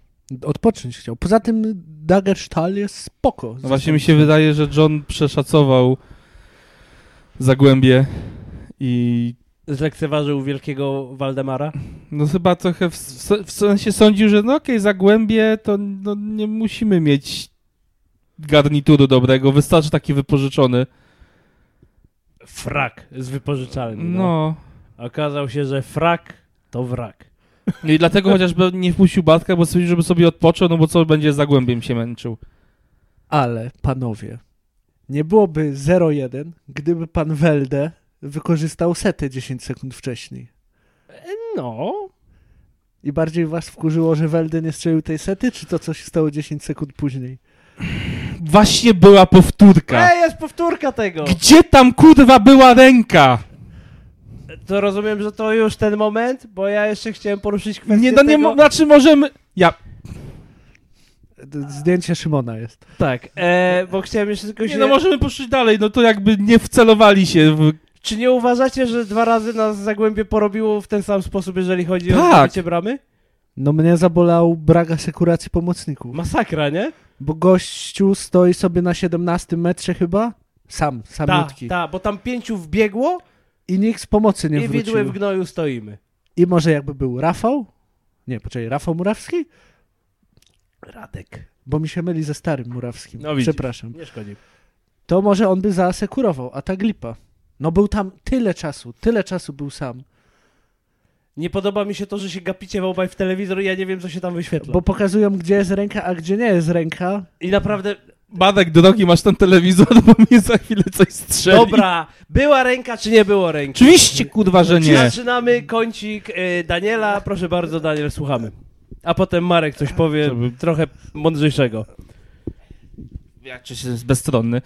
S2: Odpocząć chciał. Poza tym Dagerstal jest spoko.
S3: No właśnie mi się wydaje, że John przeszacował Zagłębie i
S1: Zlekceważył wielkiego Waldemara.
S3: no chyba trochę w, w, w sensie sądził, że no okej, Zagłębie to no, nie musimy mieć garnituru dobrego, wystarczy taki wypożyczony.
S1: Frak z wypożyczalni. No.
S3: No.
S1: Okazał się, że frak to wrak.
S3: I dlatego chociażby nie wpuścił Bartka, bo stwierdził, żeby sobie odpoczął, no bo co będzie z Zagłębiem się męczył.
S2: Ale, panowie, nie byłoby 0-1, gdyby pan Welde wykorzystał setę 10 sekund wcześniej.
S1: No,
S2: I bardziej was wkurzyło, że Welde nie strzelił tej sety, czy to, co się stało 10 sekund później?
S3: Właśnie była powtórka.
S1: Ej, jest powtórka tego!
S3: Gdzie tam kurwa była ręka?
S1: To rozumiem, że to już ten moment, bo ja jeszcze chciałem poruszyć kwestię
S3: Nie, no nie,
S1: tego...
S3: mo- znaczy możemy... Ja,
S2: D- Zdjęcie Szymona jest.
S1: Tak, e, bo chciałem jeszcze tylko się...
S3: nie, no możemy poszli dalej, no to jakby nie wcelowali się w...
S1: Czy nie uważacie, że dwa razy nas Zagłębie porobiło w ten sam sposób, jeżeli chodzi o
S3: Tak.
S1: zdobycie bramy?
S2: No mnie zabolał brak asekuracji pomocników.
S1: Masakra, nie?
S2: Bo gościu stoi sobie na 17 metrze chyba? Sam,
S1: Tak,
S2: samiutki.
S1: tak, bo tam pięciu wbiegło
S2: I nikt z pomocy nie
S1: i widły w
S2: wrócił.
S1: gnoju stoimy.
S2: I może jakby był Rafał? Nie, poczekaj, Rafał Murawski? Radek. Bo mi się myli ze starym Murawskim.
S3: No widzisz.
S2: Przepraszam.
S1: Nie szkodzi.
S2: To może on by zaasekurował, a tak lipa. No był tam tyle czasu, tyle czasu był sam.
S1: Nie podoba mi się to, że się gapicie w obaj w telewizor i ja nie wiem, co się tam wyświetla.
S2: Bo pokazują, gdzie jest ręka, a gdzie nie jest ręka.
S1: I naprawdę,
S3: Badek, drogi, masz ten telewizor, bo mnie za chwilę coś strzeli.
S1: dobra, była ręka czy nie było ręki?
S3: Oczywiście, kurwa, że nie.
S1: Zaczynamy kącik y, Daniela. Proszę bardzo, Daniel, słuchamy. A potem Marek coś powie trochę mądrzejszego.
S3: Jak czy się jest bezstronny.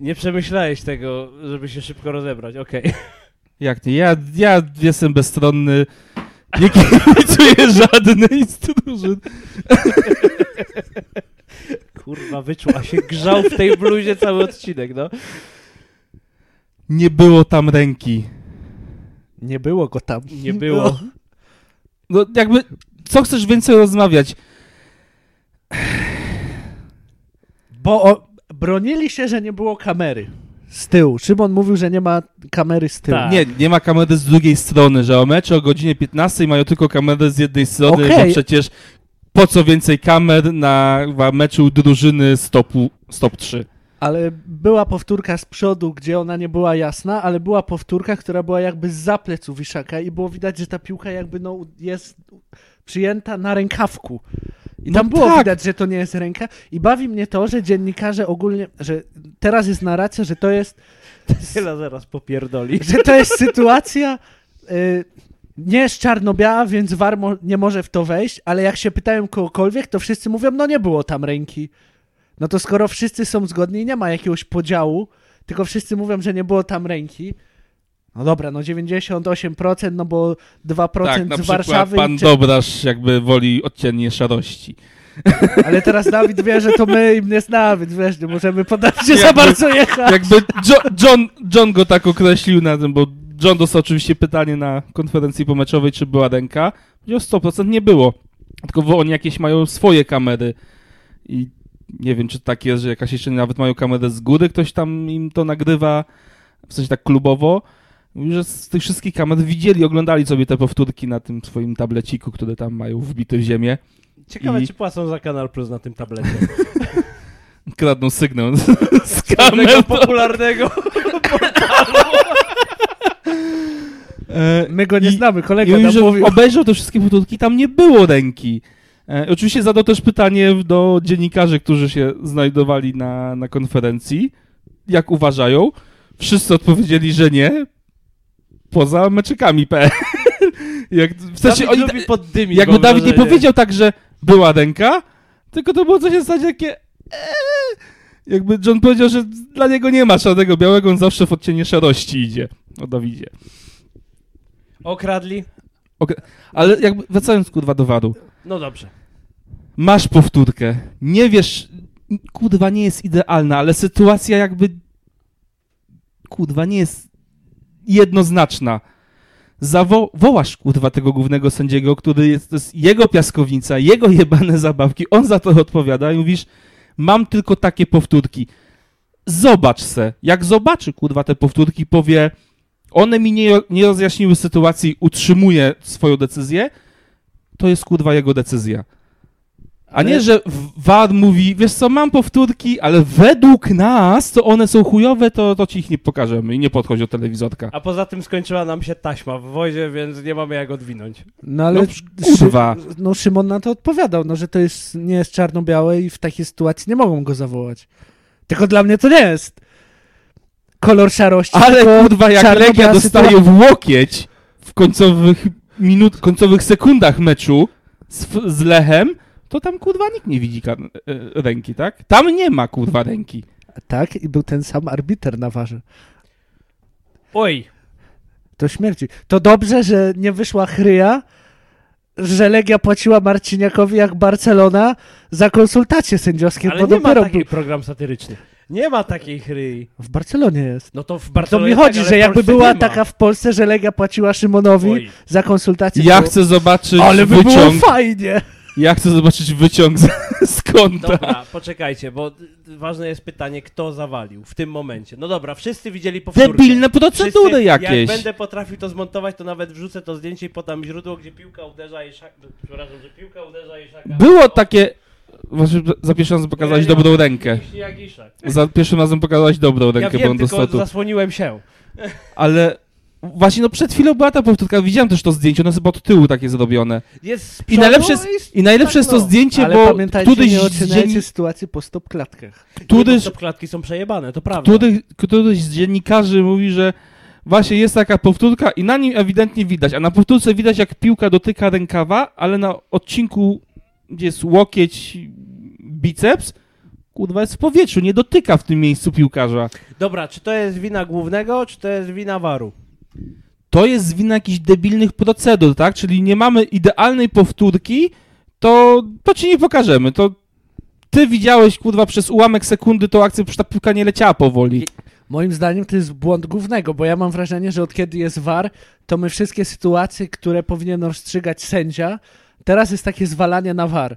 S1: Nie przemyślałeś tego, żeby się szybko rozebrać, okej.
S3: Jak nie, ja, ja jestem bezstronny. Nie kibicuję żadnej z drużyn.
S1: Kurwa, wyczuła się, grzał w tej bluzie cały odcinek, no.
S3: Nie było tam ręki.
S2: Nie było go tam.
S1: Nie było.
S3: No jakby, co chcesz więcej rozmawiać?
S2: Bo o, bronili się, że nie było kamery z tyłu. Szymon mówił, że nie ma kamery z tyłu.
S1: Tak.
S3: Nie, nie ma kamery z drugiej strony, że o meczu o godzinie 15 mają tylko kamerę z jednej strony,
S2: Okej.
S3: bo przecież po co więcej kamer na chyba meczu drużyny z topu, z top 3.
S2: Ale była powtórka z przodu, gdzie ona nie była jasna, ale była powtórka, która była jakby za plecu Wiszaka i było widać, że ta piłka jakby no, jest przyjęta na rękawku. I
S3: No
S2: tam było
S3: tak.
S2: widać, że to nie jest ręka. I bawi mnie to, że dziennikarze ogólnie, że teraz jest narracja, że to jest,
S1: Tyle zaraz popierdoli.
S2: że to jest sytuacja y, nie jest czarno-biała, więc war mo- nie może w to wejść, ale jak się pytają kogokolwiek, to wszyscy mówią, no nie było tam ręki. No to skoro wszyscy są zgodni i nie ma jakiegoś podziału, tylko wszyscy mówią, że nie było tam ręki, no dobra, no 98%, no bo 2%
S3: Tak, na
S2: z
S3: przykład
S2: Warszawy,
S3: pan
S2: czy...
S3: Dobrasz jakby woli odcienie szarości.
S2: ale teraz Dawid wie, że to my im nie znamy, więc wiesz, nie możemy podać się za
S3: Jakby-
S2: bardzo jechać.
S3: Jakby Jo- John, John go tak określił na tym, bo John dostał oczywiście pytanie na konferencji pomeczowej, czy była ręka. Powiedział 100% nie było. Tylko bo oni jakieś mają swoje kamery i nie wiem, czy tak jest, że jakaś jeszcze nawet mają kamerę z góry, ktoś tam im to nagrywa, w sensie tak klubowo. Mówi, że z tych wszystkich kamer widzieli, oglądali sobie te powtórki na tym swoim tableciku, które tam mają wbite w ziemię.
S1: Ciekawe,
S3: I-
S1: czy płacą za Kanal Plus na tym tablecie.
S3: Kradną sygnał z
S1: Tego
S3: kamer.
S1: popularnego.
S3: E,
S2: My go nie
S3: I-
S2: znamy,
S3: I
S2: kolega
S3: mówił,
S2: nam
S3: że
S2: mówił.
S3: obejrzał te wszystkie powtórki, tam nie było ręki. E, oczywiście zadał też pytanie do dziennikarzy, którzy się znajdowali na, na konferencji, jak uważają. Wszyscy odpowiedzieli, że nie, poza meczykami P. E. jak, w sensie,
S1: Dawid
S3: oni,
S1: lubi poddymić,
S3: jakby
S1: mam
S3: Dawid nie
S1: wrażenie.
S3: powiedział tak, że była ręka, tylko to było coś w zasadzie takie... eee. Jakby John powiedział, że dla niego nie ma szarego białego, on zawsze w odcienie szarości idzie. O Dawidzie.
S1: Okradli.
S3: Okej, Ale jakby wracając kurwa do waru.
S1: No dobrze.
S3: Masz powtórkę. Nie wiesz, kurwa nie jest idealna, ale sytuacja jakby kurwa nie jest jednoznaczna. Zawołasz kurwa tego głównego sędziego, który jest, to jest jego piaskownica, jego jebane zabawki, on za to odpowiada i mówisz, mam tylko takie powtórki. Zobacz se. Jak zobaczy kurwa te powtórki, powie, one mi nie, nie rozjaśniły sytuacji, utrzymuje swoją decyzję, to jest kurwa jego decyzja. A nie, że w- VAR mówi, wiesz co, mam powtórki, ale według nas to one są chujowe, to, to ci ich nie pokażemy i nie podchodź do telewizorka.
S1: A poza tym skończyła nam się taśma w wozie, więc nie mamy jak odwinąć.
S2: No ale
S3: No,
S2: Szy-
S3: kurwa.
S2: no Szymon na to odpowiadał, no że to jest, nie jest czarno-białe i w takiej sytuacji nie mogą go zawołać. Tylko dla mnie to nie jest kolor szarości.
S3: Ale
S2: tylko
S3: kurwa, jak
S2: czarno-biała
S3: Legia dostaje
S2: sytuacja.
S3: w łokieć w końcowych minut, końcowych sekundach meczu z, F- z Lechem, to tam kurwa nikt nie widzi kar- e, ręki, tak? Tam nie ma kurwa ręki.
S2: Tak, i był ten sam arbiter na warze.
S1: Oj,
S2: To śmierci. To dobrze, że nie wyszła chryja, że Legia płaciła Marciniakowi jak Barcelona za konsultacje sędziowskie,
S1: ale
S2: bo
S1: nie ma
S2: dopiero
S1: takiej
S2: był.
S1: program satyryczny. Nie ma takiej chryi.
S2: W Barcelonie jest.
S1: No to w
S2: To
S1: Barcelonie
S2: mi chodzi,
S1: tak, ale
S2: że
S1: w
S2: jakby
S1: Polsce
S2: była
S1: nie ma.
S2: taka w Polsce, że Legia płaciła Szymonowi
S1: Oj.
S2: za konsultacje.
S3: Ja
S2: to-
S3: chcę zobaczyć
S2: Ale by było
S3: wyciąg.
S2: fajnie.
S3: Ja chcę zobaczyć wyciąg z, z konta.
S1: Dobra, poczekajcie, bo y, ważne jest pytanie, kto zawalił w tym momencie. No dobra, wszyscy widzieli powtórkę.
S3: Debilne procedury
S1: Wszyscy- Jak
S3: jakieś.
S1: będę potrafił to zmontować, to nawet wrzucę to zdjęcie i podam źródło, gdzie piłka uderza i szak... Przepraszam, że piłka uderza i szaka.
S3: Było takie. Właśnie za pierwszym razem pokazałeś
S1: Ja nie
S3: dobrą
S1: mam
S3: rękę.
S1: Jeśli jak i szak.
S3: Za pierwszym razem pokazałeś dobrą
S1: Ja
S3: rękę, bo
S1: wiem,
S3: on do
S1: tylko
S3: statu.
S1: zasłoniłem się.
S3: Ale właśnie no przed chwilą była ta powtórka, widziałem też to zdjęcie, ono jest chyba od tyłu takie zrobione.
S1: Jest z
S3: I
S1: przodu
S3: najlepsze jest, i najlepsze
S1: tak,
S3: jest to
S1: no.
S3: zdjęcie,
S2: Ale
S3: bo
S2: pamiętajcie,
S3: któryś
S2: nie
S3: z,
S2: oceniajcie
S3: dziennik,
S2: sytuacji po stopklatkach.
S1: Tudy...
S3: któryś,
S1: klatki są przejebane, to prawda.
S3: któryś, któryś z dziennikarzy mówi, że właśnie jest taka powtórka i na nim ewidentnie widać, a na powtórce widać jak piłka dotyka rękawa, ale na odcinku, gdzie jest łokieć, biceps, kurwa jest w powietrzu, nie dotyka w tym miejscu piłkarza.
S1: Dobra, czy to jest wina głównego, czy to jest wina waru?
S3: to jest wina jakichś debilnych procedur, tak? Czyli nie mamy idealnej powtórki, to, to ci nie pokażemy. To ty widziałeś, kurwa, przez ułamek sekundy tą akcję, przecież ta piłka nie leciała powoli.
S2: Moim zdaniem to jest błąd głównego, bo ja mam wrażenie, że od kiedy jest VAR, to my wszystkie sytuacje, które powinien rozstrzygać sędzia, teraz jest takie zwalanie na VAR.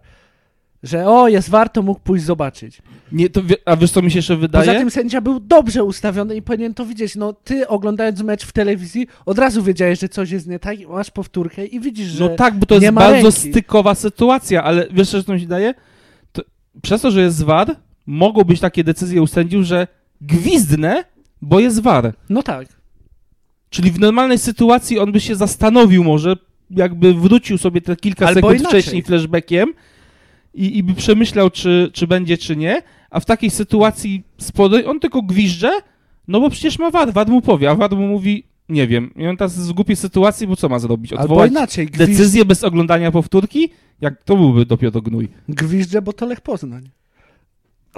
S2: Że o, jest VAR, to mógł pójść zobaczyć.
S3: Nie, to, wie- a wiesz, co mi się jeszcze wydaje?
S2: Poza tym sędzia był dobrze ustawiony i powinien to widzieć. No ty oglądając mecz w telewizji od razu wiedziałeś, że coś jest nie tak, i masz powtórkę i widzisz, że...
S3: No tak, bo to
S2: nie
S3: jest
S2: ma
S3: bardzo
S2: ręki.
S3: stykowa sytuacja, ale wiesz, co mi się daje? To, przez to, że jest war, mogą być takie decyzje u sędziów, że gwizdnę, bo jest war.
S2: No tak.
S3: Czyli w normalnej sytuacji on by się zastanowił może, jakby wrócił sobie te kilka
S2: Albo
S3: sekund
S2: inaczej.
S3: wcześniej flashbackiem i, i by przemyślał, czy, czy będzie, czy nie, a w takiej sytuacji spory on tylko gwizdże, no bo przecież ma wad, wad mu powie, a wad mu mówi, nie wiem, i on teraz jest w głupiej sytuacji, bo co ma zrobić?
S2: Albo
S3: Odwołać
S2: inaczej, gwizd...
S3: decyzję bez oglądania powtórki? Jak to byłby dopiero gnój.
S2: gwizdże, bo to Lech Poznań.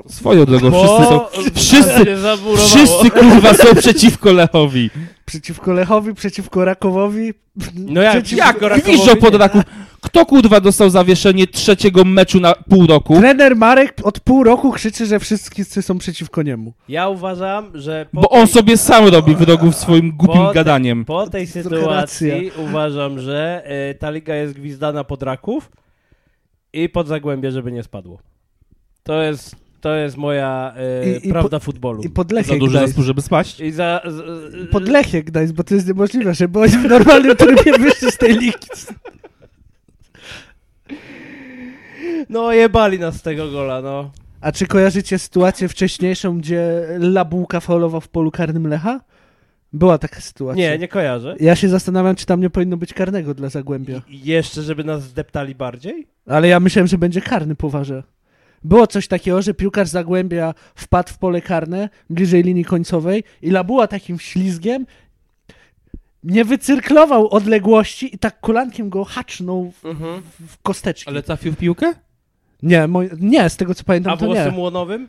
S3: Swoją drogą, wszyscy są, wszyscy-
S1: się zamurowało.
S3: wszyscy kurwa są przeciwko Lechowi.
S2: Przeciwko Lechowi, przeciwko Rakowowi.
S1: No jak,
S2: przeciwko-
S1: jak Rakowowi
S3: Gwizdżo
S1: nie.
S3: pod Raków. Kto kurwa dostał zawieszenie trzeciego meczu na pół roku?
S2: Trener Marek od pół roku krzyczy, że wszyscy są przeciwko niemu.
S1: Ja uważam, że po,
S3: Bo on sobie sam robi wrogów swoim
S1: po
S3: głupim
S1: te-
S3: gadaniem.
S1: po tej sytuacji uważam, że e, ta liga jest gwizdana pod Raków i pod Zagłębie, żeby nie spadło. To jest, to jest moja e,
S2: I- i
S1: prawda futbolu.
S2: I pod
S3: Za
S2: Lechie
S3: duży
S2: Gdańsk.
S3: zespół, żeby spaść.
S1: I za, z, z-
S2: Pod Lechie Gdańsk, bo to jest niemożliwe, że oni w normalnym trybie wyszli z tej ligi.
S1: No jebali nas z tego gola, no.
S2: A czy kojarzycie sytuację wcześniejszą, gdzie Labułka faulował w polu karnym Lecha? Była taka sytuacja.
S1: Nie, nie kojarzę.
S2: Ja się zastanawiam, czy tam nie powinno być karnego dla Zagłębia.
S1: I jeszcze, żeby nas zdeptali bardziej?
S2: Ale ja myślałem, że będzie karny poważę. Było coś takiego, że piłkarz Zagłębia wpadł w pole karne bliżej linii końcowej i Labuła takim ślizgiem nie wycyrklował odległości i tak kolankiem go hacznął w, w kosteczki.
S3: trafił w piłkę?
S2: Nie, moj... nie, z tego co pamiętam
S1: A
S2: No to nie.
S1: włosem łonowym?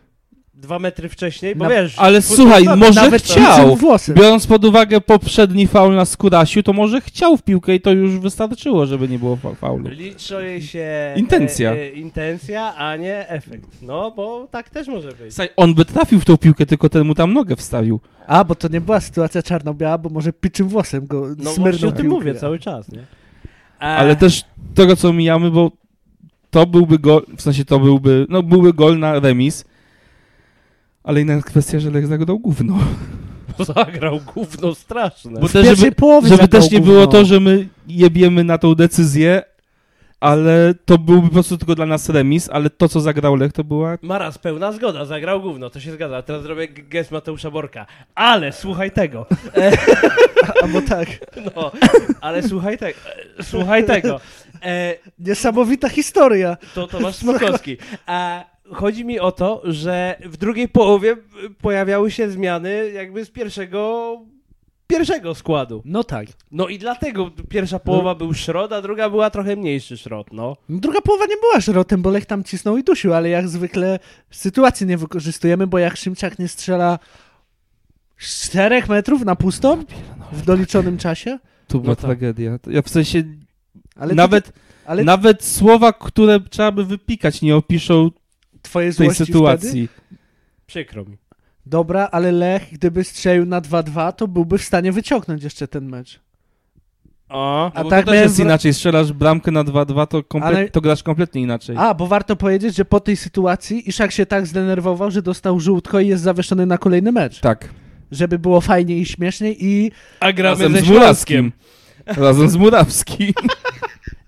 S1: dwa metry wcześniej, bo
S2: Na-
S1: wiesz...
S3: Ale
S1: futbol
S3: słuchaj,
S1: znamy.
S3: może
S2: Nawet
S3: chciał.
S2: włosy.
S3: Biorąc pod uwagę poprzedni faul na Skudasiu, to może chciał w piłkę i to już wystarczyło, żeby nie było fa- faulu.
S1: Liczy się...
S3: Intencja.
S1: E, e, intencja, a nie efekt. No, bo tak też może być.
S3: Słuchaj, on by trafił w tą piłkę, tylko ten mu tam nogę wstawił.
S2: A, bo to nie była sytuacja czarno-biała, bo może piczym włosem go
S1: No
S2: smyrnął
S1: właśnie o tym
S2: piłkę.
S1: mówię cały czas, nie? E,
S3: Ale też tego, co mijamy, bo to byłby gol, w sensie to byłby, no byłby gol na remis, ale inna kwestia, że Lech zagodał gówno.
S1: Bo zagrał gówno straszne.
S3: Bo
S2: W
S3: też,
S2: pierwszej
S3: żeby,
S2: połowie
S3: żeby
S2: zagrał
S3: też nie
S2: gówno.
S3: było to, że my jebiemy na tą decyzję, ale to byłby po prostu tylko dla nas remis, ale to, co zagrał Lech, to była...
S1: Maras, pełna zgoda, zagrał gówno, to się zgadza. Teraz zrobię g- gest Mateusza Borka. Ale słuchaj tego.
S2: A, bo tak,
S1: No, ale słuchaj tego. E, Słuchaj tego. E,
S2: niesamowita historia.
S1: to Tomasz Smokowski. A chodzi mi o to, że w drugiej połowie pojawiały się zmiany jakby z pierwszego pierwszego składu.
S2: No tak.
S1: No i dlatego pierwsza połowa był Szrot, a druga była trochę mniejszy Szrot, no.
S2: Druga połowa nie była żrotem, bo Lech tam cisnął i dusił, ale jak zwykle sytuacji nie wykorzystujemy, bo jak Szymczak nie strzela z 4 metrów na pusto w doliczonym czasie,
S3: To była
S1: tak.
S3: tragedia. To Ja w sensie
S2: ale
S3: nawet,
S2: ale
S3: nawet słowa, które trzeba by wypikać, nie opiszą
S2: twoje
S3: tej
S2: złości Wtedy?
S3: sytuacji.
S1: Przykro mi.
S2: Dobra, ale Lech, gdyby strzelił na 2-2, to byłby w stanie wyciągnąć jeszcze ten mecz.
S1: O,
S3: A
S2: A
S3: bo
S2: tak
S3: tak to też
S2: miałem
S3: jest
S2: wra-
S3: inaczej. Strzelasz bramkę na 2-2, to, komple-
S2: Ale-
S3: to grasz kompletnie inaczej.
S2: A, bo warto powiedzieć, że po tej sytuacji Iszak się tak zdenerwował, że dostał żółtko i jest zawieszony na kolejny mecz.
S3: Tak.
S2: Żeby było fajnie i śmiesznie i,
S1: a gramy
S3: Razem
S1: ze
S3: z
S1: Śląskiem.
S3: Murawskim. Razem z Murawskim.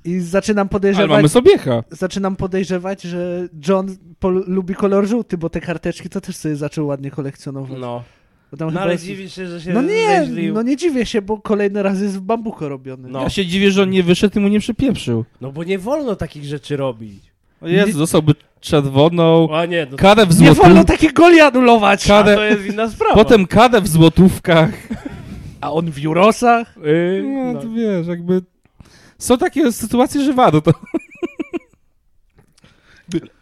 S2: i zaczynam
S3: Ale
S2: podejrzewać...
S3: mamy Sobiecha.
S2: zaczynam podejrzewać, że John pol- lubi kolor żółty, bo te karteczki to też sobie zaczął ładnie kolekcjonować.
S1: No.
S2: Bo tam
S1: No
S2: chyba
S1: ale
S2: jest-
S1: dziwi się, że się
S2: no nie,
S1: zeźlił.
S2: no nie dziwię się, bo kolejny raz jest w bambuko robiony.
S1: No.
S3: Ja się dziwię, że on nie wyszedł i mu nie przypieprzył.
S1: No bo nie wolno takich rzeczy robić.
S3: O Jezu, dostałby czerwoną,
S1: A nie, no
S3: karę w
S2: Nie wolno
S3: złotówkach.
S2: takich goli anulować!
S1: a
S3: Karę...
S1: to jest inna sprawa.
S3: Potem karę w złotówkach.
S2: A on w Jurosach?
S1: Yy,
S3: No,
S1: no.
S3: to wiesz, jakby... Są takie sytuacje, że wado to...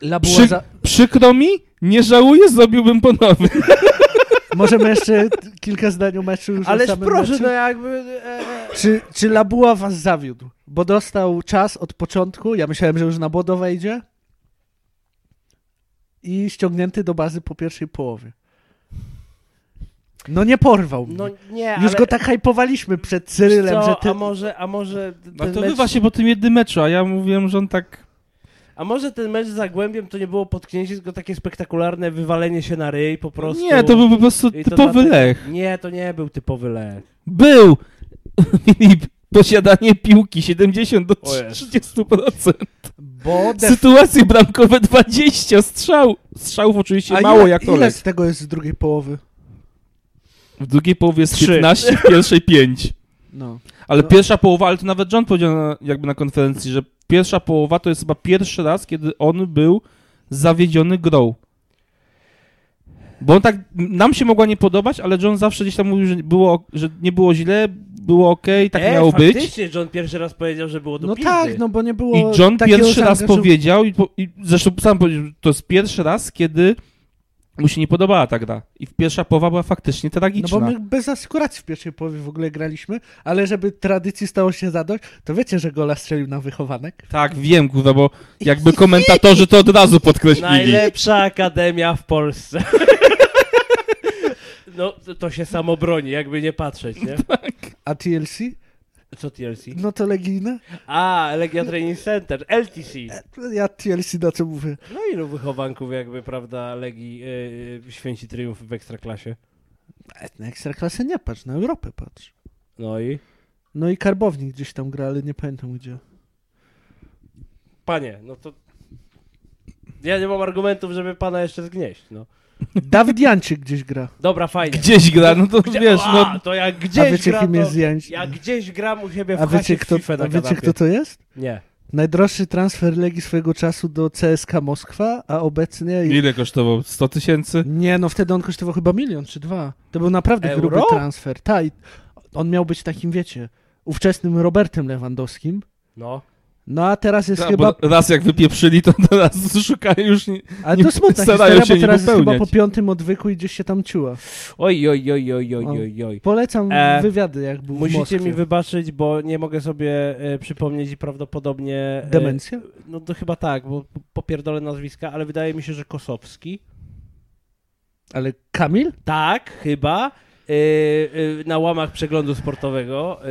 S2: Labuła
S3: Przy...
S2: za...
S3: Przykro mi, nie żałuję, zrobiłbym ponownie.
S2: Możemy jeszcze t- kilka zdań o meczu już o
S1: Ależ
S2: samym
S1: proszę,
S2: meczu.
S1: no jakby... E,
S2: Czy, czy Labuła was zawiódł? Bo dostał czas od początku, ja myślałem, że już na Bodo wejdzie i ściągnięty do bazy po pierwszej połowie. No nie porwał mnie.
S1: no nie,
S2: Już
S1: ale...
S2: go tak hypowaliśmy przed
S1: wiesz
S2: Cyrylem,
S1: co,
S2: że ty...
S1: A może, a może ten
S3: No to
S1: mecz...
S3: chyba się po tym jednym meczu, a ja mówiłem, że on tak...
S1: A może ten mecz z Zagłębiem to nie było potknięcie, tylko takie spektakularne wywalenie się na ryj po prostu.
S3: Nie, to był po prostu
S1: I to
S3: typowy
S1: dlatego-
S3: Lech.
S1: Nie, to nie był typowy lech.
S3: Był! Filip, posiadanie piłki 70 do
S1: O Jezu.
S3: 30%.
S2: Bo def...
S3: Sytuacje bramkowe 20, strzał. Strzałów oczywiście
S2: A
S3: mało
S2: ile,
S3: jak to
S2: ile
S3: Lech.
S2: z tego jest z drugiej połowy?
S3: W drugiej połowie jest
S1: Trzy.
S3: 15, w pierwszej 5.
S2: No.
S3: Ale
S2: No.
S3: pierwsza połowa, ale to nawet John powiedział na, jakby na konferencji, że pierwsza połowa to jest chyba pierwszy raz, kiedy on był zawiedziony grą. Bo on tak, nam się mogła nie podobać, ale John zawsze gdzieś tam mówił, że, było, że nie było źle, było okej, tak
S1: e,
S3: miało być.
S1: faktycznie John pierwszy raz powiedział, że było do
S2: no
S1: pizdy.
S2: tak, no bo nie było
S3: I John
S2: takiego
S3: pierwszy raz
S2: zaangażu-
S3: powiedział, i, po, i zresztą sam powiedział, że to jest pierwszy raz, kiedy mu się nie podobała ta gra. I pierwsza połowa była faktycznie
S2: No
S3: tragiczna.
S2: bo my bez asekuracji w pierwszej połowie w ogóle graliśmy, ale żeby tradycji stało się zadość, to wiecie, że gola strzelił na wychowanek.
S3: Tak, wiem, kurwa, bo jakby komentatorzy to od razu podkreślili.
S1: Najlepsza akademia w Polsce. No, to- to się samo broni, jakby nie patrzeć, nie?
S2: A TLC?
S1: Co TLC?
S2: No to legijne?
S1: A, Legia Training Center, LTC.
S2: Ja TLC na co mówię?
S1: No ilu wychowanków jakby, prawda, Legii yy, święci triumf w Ekstraklasie?
S2: E, Na ekstraklasę nie patrz, na Europę patrz.
S1: No i?
S2: No i Karbownik gdzieś tam gra, ale nie pamiętam gdzie.
S1: Panie, no to... Ja nie mam argumentów, żeby pana jeszcze zgnieść, no.
S2: Dawid Jańczyk gdzieś gra.
S1: Dobra, fajnie.
S3: Gdzieś gra, no to wiesz,
S1: A,
S3: no...
S1: to jak gdzieś
S2: A wiecie,
S1: gram,
S2: kim
S1: to...
S2: jest Jańcz-
S1: Ja gdzieś gram u siebie w
S2: A
S1: chacie
S2: wiecie,
S1: w
S2: kto,
S1: FIFA na
S2: a wiecie
S1: kanapie.
S2: kto to jest?
S1: Nie.
S2: Najdroższy transfer Legii swojego czasu do CSK Moskwa, a obecnie...
S3: Ile kosztował? 100 tysięcy?
S2: Nie, no wtedy on kosztował chyba milion czy dwa. To był naprawdę
S1: Euro?
S2: gruby transfer. Ta, i on miał być takim, wiecie, ówczesnym Robertem Lewandowskim,
S1: No.
S2: No a teraz jest
S3: Ta,
S2: chyba.
S3: Tak, bo raz jak wypieprzyli, to teraz szukają już nie...
S2: Ale
S3: nie
S2: to smutna
S3: starają
S2: historia,
S3: się
S2: bo
S3: nie
S2: teraz jest chyba po
S3: popełniać.
S2: piątym odwyku i gdzieś się tam ciuła.
S1: Oj, oj, oj, oj, oj, oj, oj.
S2: Polecam
S1: E,
S2: wywiady, jak był w Moskwie.
S1: Musicie mi wybaczyć, bo nie mogę sobie e, przypomnieć i prawdopodobnie... e,
S2: Demencja?
S1: No to chyba tak, bo popierdolę nazwiska, ale wydaje mi się, że Kosowski.
S2: Ale Kamil?
S1: Tak, chyba. e, e, na łamach przeglądu sportowego e,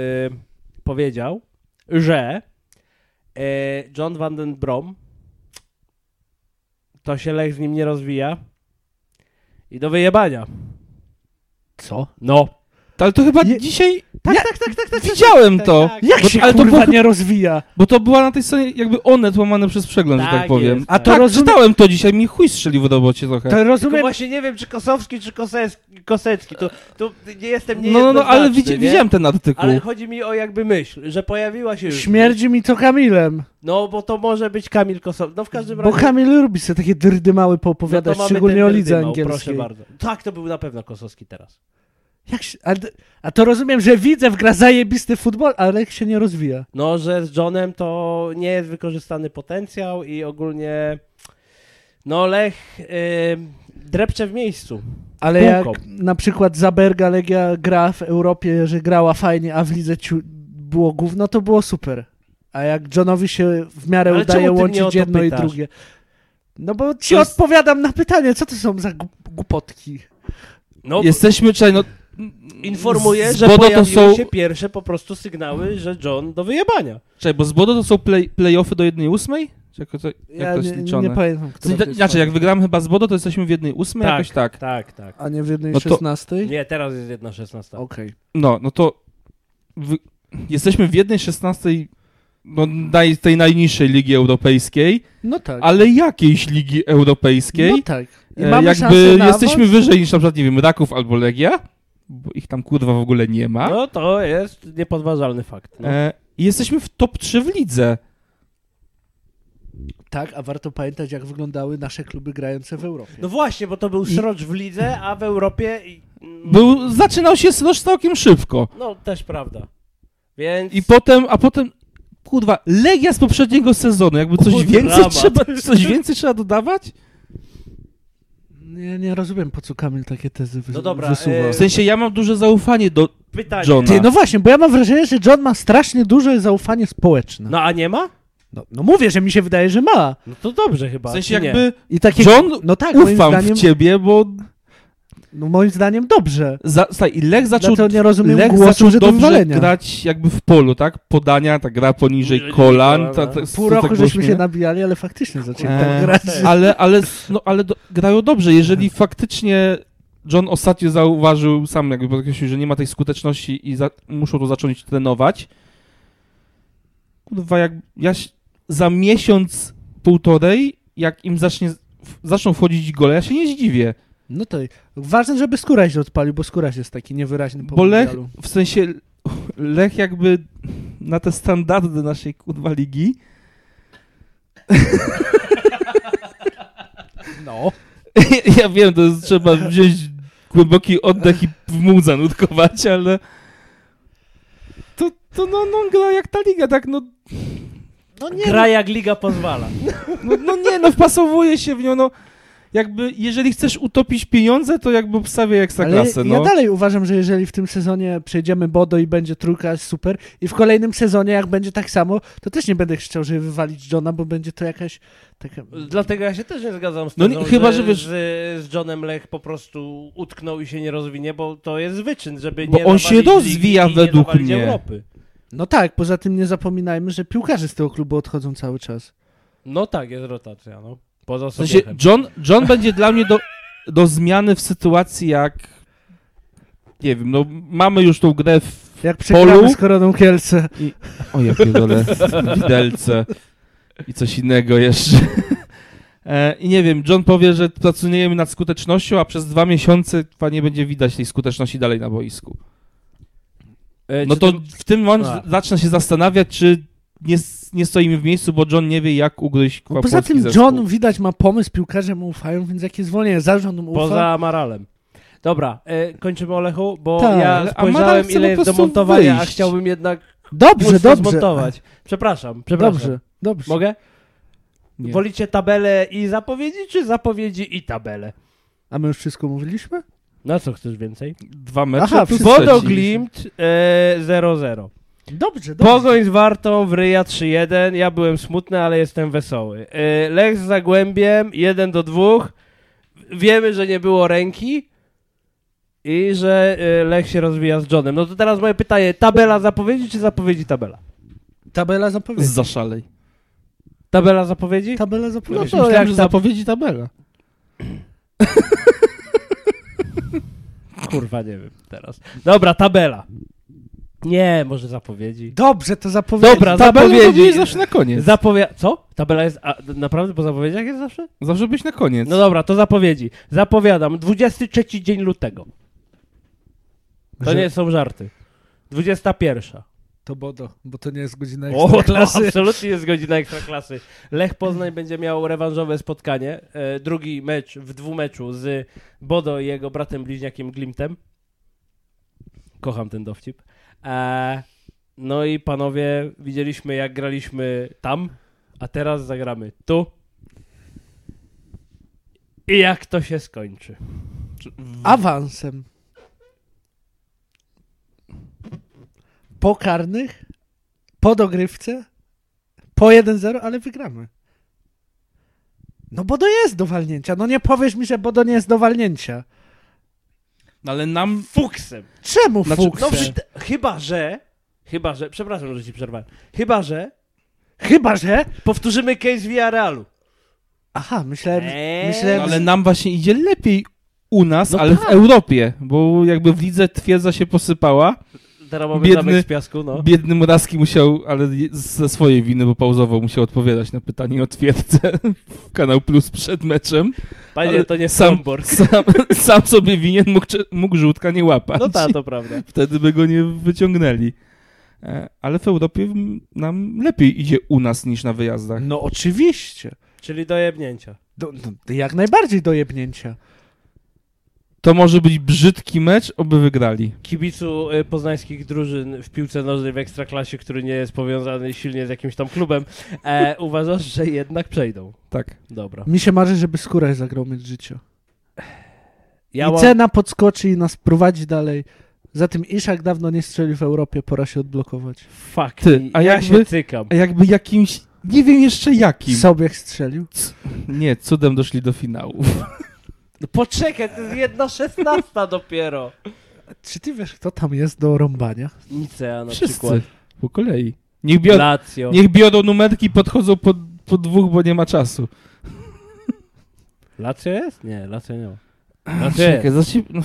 S1: powiedział, że e, John van den Brom to się Lech z nim nie rozwija i do wyjebania.
S2: Co?
S1: No.
S3: Ale to chyba
S2: Je-
S3: dzisiaj
S2: Tak,
S3: Ja-
S2: tak, tak, tak, tak.
S3: widziałem to,
S1: tak.
S2: Jak
S3: Bo-
S2: się
S3: ale to
S2: kurwa
S3: było-
S2: nie rozwija?
S3: bo to była na tej stronie jakby onet łamane przez przegląd, że
S1: Tak
S3: tak powiem.
S1: jest,
S2: A
S1: tak.
S2: to
S3: Tak,
S2: rozumiem.
S3: czytałem to dzisiaj, mi chuj strzelił w dobocie trochę.
S2: To
S1: Tylko
S2: rozumiem.
S1: właśnie nie wiem, czy Kosowski, czy Koseski, Kosecki. To, to nie jestem nie
S3: No, no, no, ale widzi, widziałem ten artykuł.
S1: Ale no, chodzi mi o jakby myśl, że pojawiła się już.
S2: Śmierdzi mi to Kamilem.
S1: No, bo to może być Kamil Kosowski. No w każdym
S2: Bo
S1: razie...
S2: Kamil lubi sobie takie dyrdy małe
S1: no
S2: poopowiadać,
S1: to mamy
S2: szczególnie
S1: ten
S2: o lidze
S1: dyrdywał, Proszę
S2: angielskiej.
S1: bardzo. Tak, to był na pewno Kosowski teraz.
S2: Jak się, a, d- a to rozumiem, że widzę w gra zajebisty futbol, ale jak się nie rozwija.
S1: No, że z Johnem to nie jest wykorzystany potencjał i ogólnie no Lech yy, drepcze w miejscu.
S2: Ale jak
S1: Półką.
S2: na przykład Zaberga Legia gra w Europie, że grała fajnie, a w lidze ciu- było gówno, to było super. A jak Johnowi się w miarę
S1: Ale
S2: udaje
S1: czemu ty mnie o
S2: łączyć
S1: to
S2: jedno
S1: pytasz?
S2: i drugie. No bo ci
S1: To jest-
S2: odpowiadam na pytanie, co to są za gu- głupotki?
S1: No,
S3: Jesteśmy czekaj, no...
S1: informuję,
S3: z
S1: że
S3: Bodo
S1: pojawiły
S3: to są,
S1: się pierwsze po prostu sygnały, że John do wyjebania.
S3: Czekaj, bo z Bodo to są play, playoffy do 1,8? Czekaj, to, jak
S2: Ja
S3: to jest
S2: nie,
S3: liczone?
S2: nie pamiętam,
S3: Co,
S1: Znaczy,
S2: która to
S3: ina-
S2: jest
S3: inaczej,
S2: fajna.
S3: jak wygramy chyba z Bodo, to jesteśmy w 1,8
S1: Tak.
S3: jakoś tak.
S1: Tak, tak.
S2: A nie w jednej
S3: No to-
S2: szesnastej?
S1: Nie, tak. teraz jest jedna szesnasta.
S2: Okej.
S3: No, no to w, jesteśmy w jednej 16 no, naj, tej najniższej ligi europejskiej,
S2: No tak.
S3: ale jakiejś ligi europejskiej.
S2: No tak. I
S3: E,
S2: mamy
S3: jakby
S2: szansę na
S3: jesteśmy
S2: awans?
S3: wyżej niż na przykład, nie wiem, Raków albo Legia, bo ich tam kurwa w ogóle nie ma.
S1: No to jest niepodważalny fakt. No.
S3: E, I jesteśmy w top 3 w lidze.
S2: Tak, a warto pamiętać, jak wyglądały nasze kluby grające w Europie.
S1: no właśnie, bo to był srocz w lidze, a w Europie... i-
S3: Był, zaczynał się sroż całkiem szybko.
S1: No, też prawda. Więc...
S3: I potem, a potem, kurwa, Legia z poprzedniego sezonu, jakby coś
S1: O,
S3: więcej
S1: dramat.
S3: trzeba, coś więcej trzeba dodawać?
S2: Ja nie rozumiem, po co Kamil takie tezy wy-
S1: No dobra,
S2: wysuwa.
S1: e,
S3: W sensie ja mam duże zaufanie do
S1: Pytanie.
S3: John.
S2: Ty, no właśnie, bo ja mam wrażenie, że John ma strasznie duże zaufanie społeczne. No,
S1: No a nie ma?
S2: no, mówię, że mi się wydaje, że ma.
S1: No to dobrze chyba.
S3: W sensie
S1: czy nie?
S3: jakby
S2: I takie,
S3: John,
S2: no tak, moim
S3: ufam
S2: zdaniem,
S3: w ciebie, bo
S2: no, moim zdaniem dobrze.
S3: za, słuchaj, i Lech zaczął,
S2: Dlatego nie rozumiem
S3: Lech
S2: głosu,
S3: zaczął
S2: że do
S3: dobrze
S2: wywalenia.
S3: grać jakby w polu, tak? Podania, ta gra poniżej
S1: Poniżej
S3: kolan. Ta,
S1: kolan,
S3: ta,
S2: Pół
S3: to
S2: roku
S3: tak
S2: żeśmy
S3: głośno,
S2: się
S3: nie?
S2: nabijali, ale faktycznie zaczęli tak
S3: Eee,
S2: grać.
S3: Ale, ale, no, ale do, grają dobrze. Jeżeli faktycznie John ostatnio zauważył, sam jakby podkreślił, że nie ma tej skuteczności i za, muszą to zacząć trenować. Kurwa, jak ja się- za miesiąc, półtorej, jak im zacznie, w- zaczną wchodzić gole, ja się nie zdziwię.
S2: No to ważne, żeby skóra się odpalił, bo skóra jest taki niewyraźny po
S3: Bo Lech,
S2: mundialu.
S3: w sensie, Lech jakby na te standardy naszej kurwa ligi
S2: No.
S3: Ja wiem, to jest, trzeba wziąć głęboki oddech i w mózg zanurkować, ale to, to no, no on gra jak ta liga, tak no,
S2: No nie,
S1: Gra jak liga pozwala.
S3: no, no nie, no wpasowuje się w nią, no jakby jeżeli chcesz utopić pieniądze, to jakby obstawię ekstraklasę,
S2: Ale
S3: no.
S2: Ja tak dalej uważam, że jeżeli w tym sezonie przejdziemy Bodo i będzie trójka, super. I w kolejnym sezonie, jak będzie tak samo, to też nie będę chciał, żeby wywalić Johna, bo będzie to jakaś taka...
S1: Dlatego ja się też nie zgadzam z
S3: No
S1: tym,
S3: nie- chyba,
S1: że,
S3: że wiesz-
S1: z, z Johnem Lech po prostu utknął i się nie rozwinie, bo to jest wyczyn, żeby
S3: Bo
S1: nie
S3: on się
S1: zawalić
S3: rozwija
S1: ligi i
S3: według
S1: nie zawalić
S3: mnie.
S1: Europy.
S2: No tak, poza tym nie zapominajmy, że piłkarze z tego klubu odchodzą cały czas.
S1: No tak, jest rotacja, no. Poza
S3: W sensie
S1: Sobiechem.
S3: John, John będzie dla mnie do, do zmiany w sytuacji jak, nie wiem, no mamy już tą grę w
S2: Jak przegramy
S3: Polu?
S2: z Koroną Kielce.
S3: O, ja pierdolę. Widelce. I coś innego jeszcze. E, I nie wiem, John powie, że pracujemy nad skutecznością, a przez dwa miesiące chyba nie będzie widać tej skuteczności dalej na boisku.
S1: E,
S3: No
S1: czy
S3: to
S1: ty-
S3: w tym momencie
S1: A.
S3: zacznę się zastanawiać, czy nie, s- nie stoimy w miejscu, bo John nie wie, jak ugryźć
S2: No
S3: no,
S2: poza tym John, widać, ma pomysł, piłkarze mu ufają, więc jakie zwolnienie, zarząd mu ufa.
S1: Poza Amaralem. Dobra, e, kończymy o Lechu, bo
S2: Tak,
S1: ja
S3: ale Amaral
S1: spojrzałem
S3: chce po
S1: ile jest do
S3: prostu
S1: montowania, a
S3: wyjść.
S1: chciałbym jednak
S2: Dobrze,
S1: Muszę
S2: dobrze.
S1: zmontować. Przepraszam, przepraszam.
S2: Dobrze, dobrze.
S1: Mogę?
S3: Nie.
S1: Wolicie tabelę i zapowiedzi, czy zapowiedzi i tabelę?
S2: A my już wszystko mówiliśmy?
S1: Na co chcesz więcej?
S3: Dwa mecze
S2: Aha,
S3: plus
S2: wszystko.
S3: trzeci.
S1: Podoglimt e, 0-0.
S2: Dobrze, dobrze.
S1: Pogoń z Wartą w Ryja 3-1. Ja byłem smutny, ale jestem wesoły. E, Lech z Zagłębiem 1-2. Wiemy, że nie było ręki i że e, Lech się rozwija z Johnem. No to teraz moje pytanie. Tabela zapowiedzi czy zapowiedzi tabela?
S2: Tabela zapowiedzi.
S3: Zaszalej.
S1: Tabela zapowiedzi?
S2: Tabela
S3: No
S2: zapowiedzi.
S3: to Myślałem,
S1: jak
S3: że
S1: tam-
S3: zapowiedzi tabela.
S1: Kurwa, nie wiem teraz. Dobra, tabela. Nie, może zapowiedzi.
S2: Dobrze, to zapowiedzi.
S1: Dobra,
S3: Tabela
S1: zapowiedzi.
S3: zapowiedzi zawsze na koniec.
S1: Zapowia... Co? Tabela jest... A, naprawdę po zapowiedziach jest zawsze?
S3: Zawsze być na koniec.
S1: No dobra, to zapowiedzi. Zapowiadam. 23 dzień lutego. To
S2: Że-
S1: nie są żarty. 21.
S2: To bodo, bo to nie jest godzina
S1: O, to
S2: ekstraklasy.
S1: Tak, absolutnie jest godzina ekstraklasy. Lech Poznań będzie miał rewanżowe spotkanie. E, drugi mecz w dwumeczu z Bodo i jego bratem bliźniakiem Glimtem. Kocham ten dowcip. E, no i panowie, widzieliśmy jak graliśmy tam, a teraz zagramy tu. I jak to się skończy?
S2: Awansem. Po karnych, po dogrywce, po 1-0, ale wygramy. No Bodo jest do walnięcia. No nie powiesz mi, że Bodo nie jest do walnięcia.
S3: No ale nam...
S1: Fuksem!
S2: Czemu
S3: Znaczy,
S2: Fuchs?
S1: No,
S3: Fuksem.
S1: przy, chyba, że... Chyba, że... Przepraszam, że ci przerwałem. Chyba, że...
S2: Chyba, że...
S1: Powtórzymy case Villarrealu.
S2: Aha, myślałem,
S1: Eee.
S2: myślałem
S3: No ale
S2: że...
S3: nam właśnie idzie lepiej u nas,
S1: No
S3: ale w Europie, bo jakby w lidze twierdza się posypała.
S1: Teraz mamy
S3: Biedny-
S1: zamek z piasku, no.
S3: Biedny Muraski musiał, ale je- ze swojej winy, bo pauzował, musiał odpowiadać na pytanie o twierdzę w Kanał Plus przed meczem.
S1: Panie,
S3: ale
S1: to nie
S3: sam-
S1: Sombor.
S3: Sam, sam sobie winien, mógł, cze- mógł żółtka nie łapać.
S1: No tak, to prawda.
S3: Wtedy by go nie wyciągnęli. E, Ale w Europie m- nam lepiej idzie u nas niż na wyjazdach.
S2: No oczywiście.
S1: Czyli do jebnięcia.
S2: Do, do, jak najbardziej do jebnięcia.
S3: To może być brzydki mecz, oby wygrali.
S1: Kibicu y, poznańskich drużyn w piłce nożnej w Ekstraklasie, który nie jest powiązany silnie z jakimś tam klubem, e, uważasz, że jednak przejdą.
S3: Tak.
S1: Dobra.
S2: Mi się marzy, żeby skórę zagrał mieć życia.
S1: Ja
S2: I
S1: mam...
S2: cena podskoczy i nas prowadzi dalej. Zatem Iszak dawno nie strzelił w Europie, pora się odblokować.
S1: Fuck,
S3: Ty,
S1: i-
S3: a
S1: ja
S3: jakby-
S1: się cykam.
S3: A jakby jakimś, nie wiem jeszcze jakim.
S2: Sobiech strzelił?
S3: Nie, cudem doszli do finału.
S1: No poczekaj, to jest jedna szesnasta dopiero.
S2: Czy ty wiesz, kto tam jest do rąbania?
S1: Nicea na
S3: Wszyscy.
S1: przykład.
S3: Po kolei. Niech biorą,
S1: Lazio.
S3: Niech biorą numerki, podchodzą po, po dwóch, bo nie ma czasu.
S1: Lazio jest? Nie, Lazio nie ma. Lazio jest.
S3: no.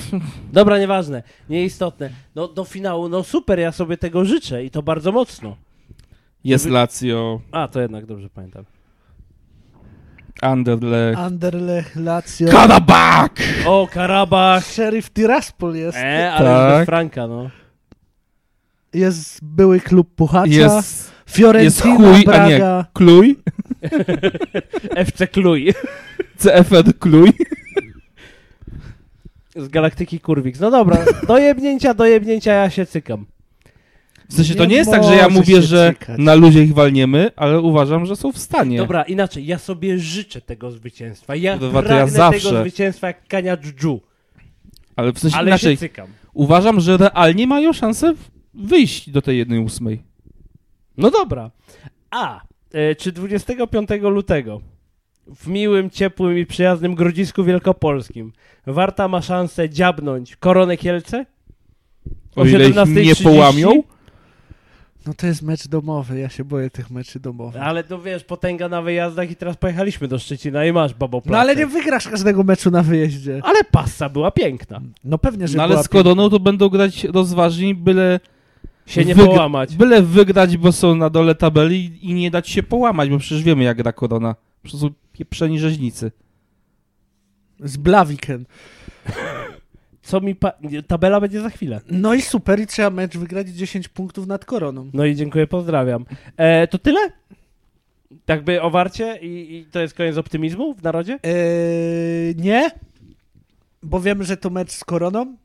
S1: Dobra, nieważne, nieistotne. No do finału, no super, ja sobie tego życzę i to bardzo mocno.
S3: Jest Lazio,
S1: A, to jednak dobrze pamiętam.
S3: Anderlecht,
S2: Anderlecht, Lazio,
S3: Karabak!
S1: O, Karabach!
S2: Sheriff Tiraspol jest.
S1: E, ale
S3: Tak.
S1: bez Franka, no.
S2: Jest były klub Puchacza.
S3: Jest, jest
S2: Fiorentina,
S3: chuj, a nie
S2: Braga.
S3: Kluj,
S1: FC Kluj
S3: CFN Kluj.
S1: z Galaktyki Kurwix. No dobra, do jebnięcia, do jebnięcia ja się cykam.
S3: W sensie to
S2: Nie
S3: nie jest tak, że ja
S2: może się
S3: mówię, że
S2: cykać.
S3: na luzie ich walniemy, ale uważam, że są w stanie.
S1: Dobra, inaczej, ja sobie życzę tego zwycięstwa. Ja
S3: Kurwa, to ja
S1: pragnę tego
S3: zawsze.
S1: zwycięstwa jak kania dżdżu,
S3: Ale w sensie
S1: ale
S3: inaczej,
S1: się cykam.
S3: uważam, że realnie mają szansę wyjść do tej jednej ósmej.
S1: No dobra. A, e, czy 25 lutego w miłym, ciepłym i przyjaznym Grodzisku Wielkopolskim Warta ma szansę dziabnąć koronę Kielce?
S3: O ile ich nie
S1: 17:30?
S3: połamią.
S2: No to jest mecz domowy, ja się boję tych meczy domowych.
S1: Ale to wiesz, potęga na wyjazdach i teraz pojechaliśmy do Szczecina i masz babo
S2: No ale nie wygrasz każdego meczu na wyjeździe.
S1: Ale passa była piękna.
S2: No pewnie, że
S3: No ale
S2: była
S3: z Koroną to będą grać rozważni, byle
S1: Się nie
S3: Wygra-
S1: połamać.
S3: Byle wygrać, bo są na dole tabeli i nie dać się połamać, bo przecież wiemy, jak gra korona. Przecież są pieprzeni rzeźnicy.
S2: z Blaviken.
S1: Co mi pa... nie, Tabela będzie za chwilę.
S2: No i super, i trzeba mecz wygrać i 10 punktów nad koroną.
S1: No i dziękuję, pozdrawiam. E, to tyle? Tak by o Warcie i, i to jest koniec optymizmu w narodzie?
S2: Yy, Eee, nie, bo wiemy, że to mecz z koroną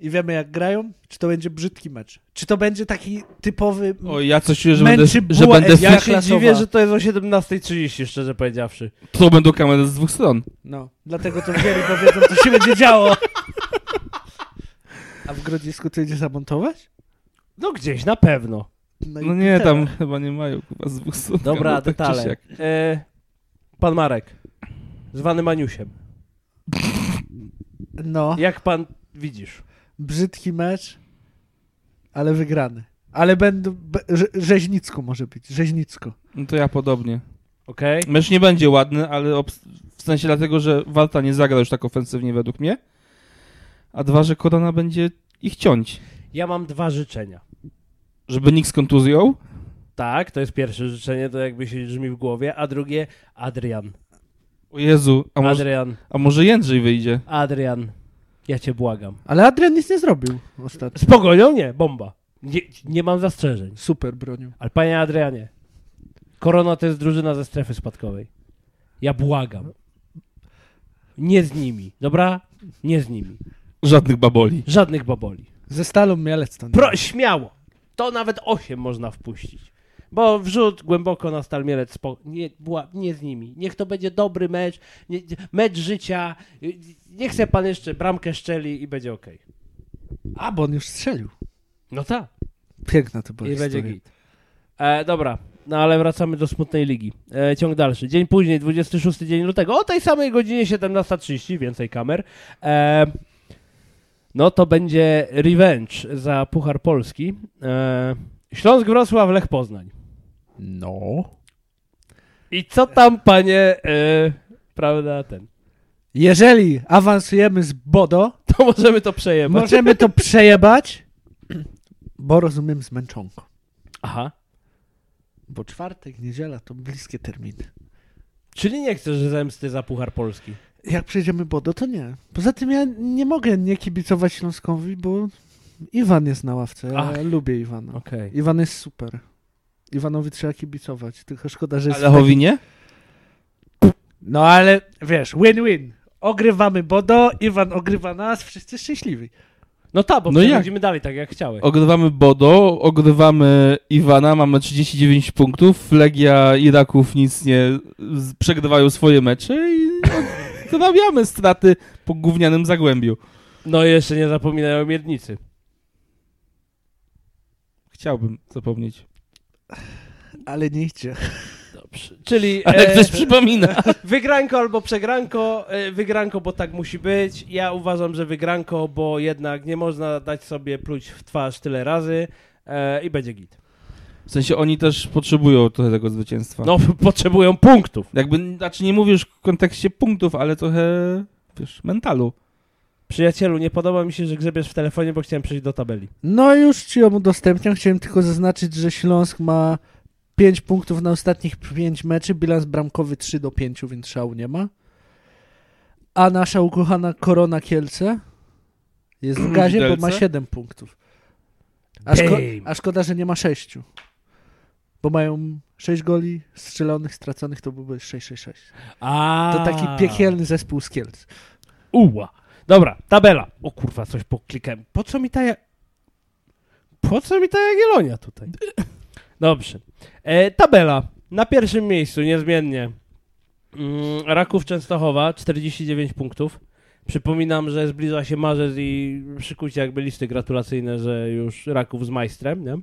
S2: i wiemy jak grają, czy to będzie brzydki mecz. Czy to będzie taki typowy...
S3: O, ja coś czuję, że
S2: Mm. Męczy
S3: będę, że
S2: buła
S3: będę
S2: Ewiak.
S1: Ja
S3: ja...
S1: się
S2: klasowa.
S1: dziwię, że to jest o 17.30, szczerze powiedziawszy.
S3: to będą kamery z dwóch stron.
S2: No, dlatego to wzięli, bo wiedzą, co się będzie działo. A w Grodzisku to idzie zamontować?
S1: No gdzieś, na pewno.
S2: No, i
S3: No nie,
S2: tyle.
S3: tam chyba nie mają chyba z dwóch stron.
S1: Dobra,
S3: kamer, tak czy
S1: detale.
S3: siak.
S1: E, pan Marek, zwany Maniusiem,
S2: No,
S1: jak pan widzisz?
S2: brzydki mecz, ale wygrany. Ale będą... be- Rze, rzeźnicko może być, rzeźnicko.
S3: No to ja podobnie.
S1: Okej?
S3: Mecz nie będzie ładny, ale obs- w sensie dlatego, że Walta nie zagra już tak ofensywnie według mnie. A dwa, że Korona będzie ich ciąć.
S1: Ja mam dwa życzenia.
S3: Żeby nikt z kontuzją.
S1: Tak, to jest pierwsze życzenie, to jakby się brzmi w głowie, a drugie Adrian.
S3: O Jezu, a może,
S1: Adrian,
S3: a może Jędrzej wyjdzie?
S1: Adrian, ja cię błagam.
S2: Ale Adrian nic nie zrobił ostatnio.
S1: Z pogonią nie, bomba. Nie, nie mam zastrzeżeń.
S2: Super bronił.
S1: Ale panie Adrianie, Korona to jest drużyna ze strefy spadkowej. Ja błagam. Nie z nimi, dobra? Nie z nimi.
S3: Żadnych baboli.
S1: Żadnych baboli.
S2: Ze Stalą Mielec to nie.
S1: Pro, śmiało. To nawet 8 można wpuścić. Bo wrzut głęboko na Stalmielec. Spo... Nie, była, nie z nimi. Niech to będzie dobry mecz. Nie, mecz życia. Niech se pan jeszcze bramkę szczeli i będzie okej.
S2: A, bo on już strzelił.
S1: No tak.
S2: Piękna to była
S1: I będzie
S2: historia.
S1: git. E, dobra, no ale wracamy do smutnej ligi. E, ciąg dalszy. Dzień później, 26 dzień lutego, o tej samej godzinie 17.30, więcej kamer. E, no to będzie revenge za Puchar Polski. E, Śląsk Wrocław, Lech Poznań.
S2: No.
S1: I co tam, panie, e, prawda, ten.
S2: Jeżeli awansujemy z Bodo,
S1: To możemy to przejebać.
S2: możemy to przejebać, bo rozumiem zmęczonko.
S1: Aha.
S2: Bo czwartek, niedziela to bliskie terminy.
S1: Czyli nie chcesz zemsty za Puchar Polski.
S2: Jak przejdziemy Bodo, to nie. Poza tym ja nie mogę nie kibicować Śląskowi, bo Iwan jest na ławce. Ja
S1: Ach.
S2: lubię Iwana.
S1: Okej.
S2: Iwan jest super. Iwanowi trzeba kibicować, tylko szkoda, że jest...
S3: Lechowi nie?
S2: No ale wiesz, win-win. Ogrywamy Bodo, Iwan ogrywa nas, wszyscy szczęśliwi.
S1: No tak, bo
S3: No
S1: no
S3: jak?
S1: przechodzimy dalej, tak jak chciałeś.
S3: Ogrywamy Bodo, ogrywamy Iwana, mamy 39 punktów. Legia i Raków nic nie z- przegrywają swoje mecze i nadrabiamy straty po gównianym zagłębiu.
S1: No i jeszcze nie zapominaj o Miednicy.
S3: Chciałbym zapomnieć.
S2: Ale nie idzie.
S1: Dobrze. Czyli
S3: Ale
S1: e,
S3: ktoś przypomina.
S1: wygranko albo przegranko, e, wygranko, bo tak musi być. Ja uważam, że wygranko, bo jednak nie można dać sobie pluć w twarz tyle razy e, i będzie git.
S3: W sensie oni też potrzebują trochę tego zwycięstwa.
S1: No, potrzebują punktów.
S3: Jakby, znaczy nie mówię już w kontekście punktów, ale trochę, wiesz, mentalu.
S1: Przyjacielu, nie podoba mi się, że grzebiesz w telefonie, bo chciałem przejść do tabeli.
S2: No już ci ją udostępniam. Chciałem tylko zaznaczyć, że Śląsk ma 5 punktów na ostatnich 5 meczy, bilans bramkowy 3 do 5, więc szału nie ma. A nasza ukochana Korona Kielce jest w gazie, bo ma
S3: Widelce?
S2: 7 punktów. A, szko-
S1: Damn.
S2: a szkoda, że nie ma 6. Bo mają 6 goli strzelonych, straconych, to byłby 6-6-6.
S1: A
S2: To taki piekielny zespół z Kielc.
S1: Uła. Dobra, tabela. O kurwa, coś poklikałem. Po co mi ta... Ja... Po co mi ta Jagiellonia tutaj? Dobrze. E, tabela. Na pierwszym miejscu, niezmiennie. Mm, Raków Częstochowa, 49 punktów. Przypominam, że zbliża się marzec i szykujcie jakby listy gratulacyjne, że już Raków z majstrem, nie?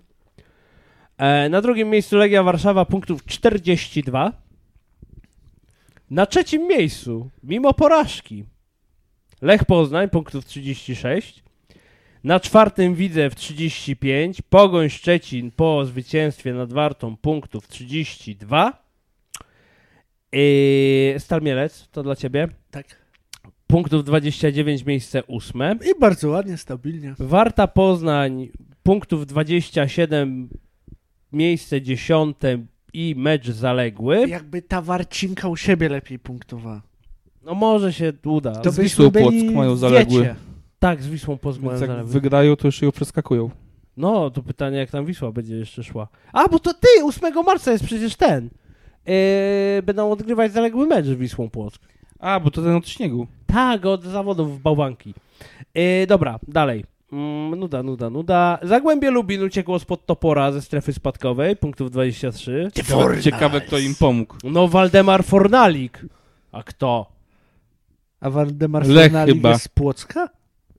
S1: E, na drugim miejscu Legia Warszawa, punktów 42. Na trzecim miejscu, mimo porażki, Lech Poznań, punktów 36. Na czwartym Widzew 35. Pogoń Szczecin po zwycięstwie nad Wartą, punktów 32. Yy, Stal Mielec, to dla ciebie.
S2: Tak.
S1: Punktów 29, miejsce ósme.
S2: I bardzo ładnie, stabilnie.
S1: Warta Poznań, punktów 27, miejsce dziesiąte i mecz zaległy.
S2: Jakby ta warcinka u siebie lepiej punktowała.
S1: No może się uda.
S2: To
S3: Z
S2: byśmy
S3: Wisłą
S2: byli
S3: Płock mają
S2: w
S3: zaległy.
S2: wiecie.
S1: Tak, z Wisłą Poznań
S3: Więc jak
S1: zaległy.
S3: wygrają, to już ją przeskakują.
S1: No, to pytanie, jak tam Wisła będzie jeszcze szła. A, bo to ty, 8 marca jest przecież ten. Yy, będą odgrywać zaległy mecz z Wisłą Płock.
S3: A, bo to ten od śniegu.
S1: Tak, od zawodów w Bałwanki. Yy, dobra, dalej. Yy, Mm, nuda, nuda, nuda. Zagłębie Lubin uciekło spod topora ze strefy spadkowej, punktów 23.
S3: Ciekawe, ciekawe kto im pomógł.
S1: No, Waldemar Fornalik. A kto?
S2: A Waldemar
S3: Lech
S2: Fornalik
S3: chyba.
S2: jest z Płocka?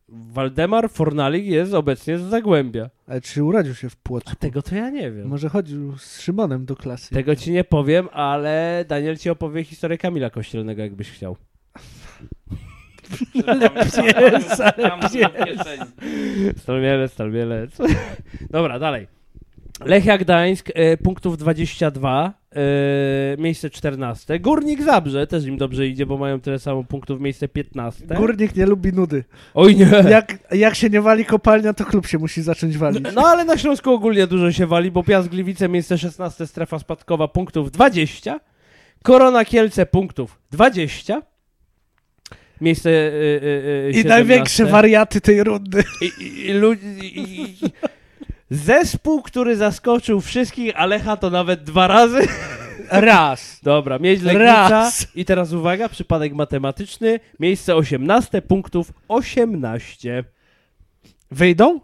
S1: Waldemar Fornalik jest obecnie z Zagłębia.
S2: Ale czy urodził się w Płocku?
S1: A tego to ja nie wiem.
S2: Może chodził z Szymonem do klasy.
S1: Tego ci nie powiem, ale Daniel ci opowie historię Kamila Kościelnego, jakbyś chciał.
S3: Ale
S1: pies, ale pies. Stalmielec, Stalmielec. Dobra, dalej. Lechia Gdańsk, e, punktów 22, e, miejsce 14. Górnik Zabrze, też im dobrze idzie, bo mają tyle samo punktów, miejsce 15.
S2: Górnik nie lubi nudy.
S1: Oj nie!
S2: Jak, jak się nie wali kopalnia, to klub się musi zacząć walić.
S1: No ale na Śląsku ogólnie dużo się wali, bo Piast Gliwice, miejsce 16, strefa spadkowa, punktów 20. Korona Kielce, punktów 20. Miejsce e, e, e,
S2: I największe
S1: 17.
S2: wariaty tej rundy.
S1: I, i, i, lud- i, i, i- zespół, który zaskoczył wszystkich, Alecha to nawet dwa razy.
S2: Raz.
S1: Dobra, mieć Legnica.
S2: Raz.
S1: I teraz uwaga, przypadek matematyczny. Miejsce 18, punktów 18.
S2: Wyjdą?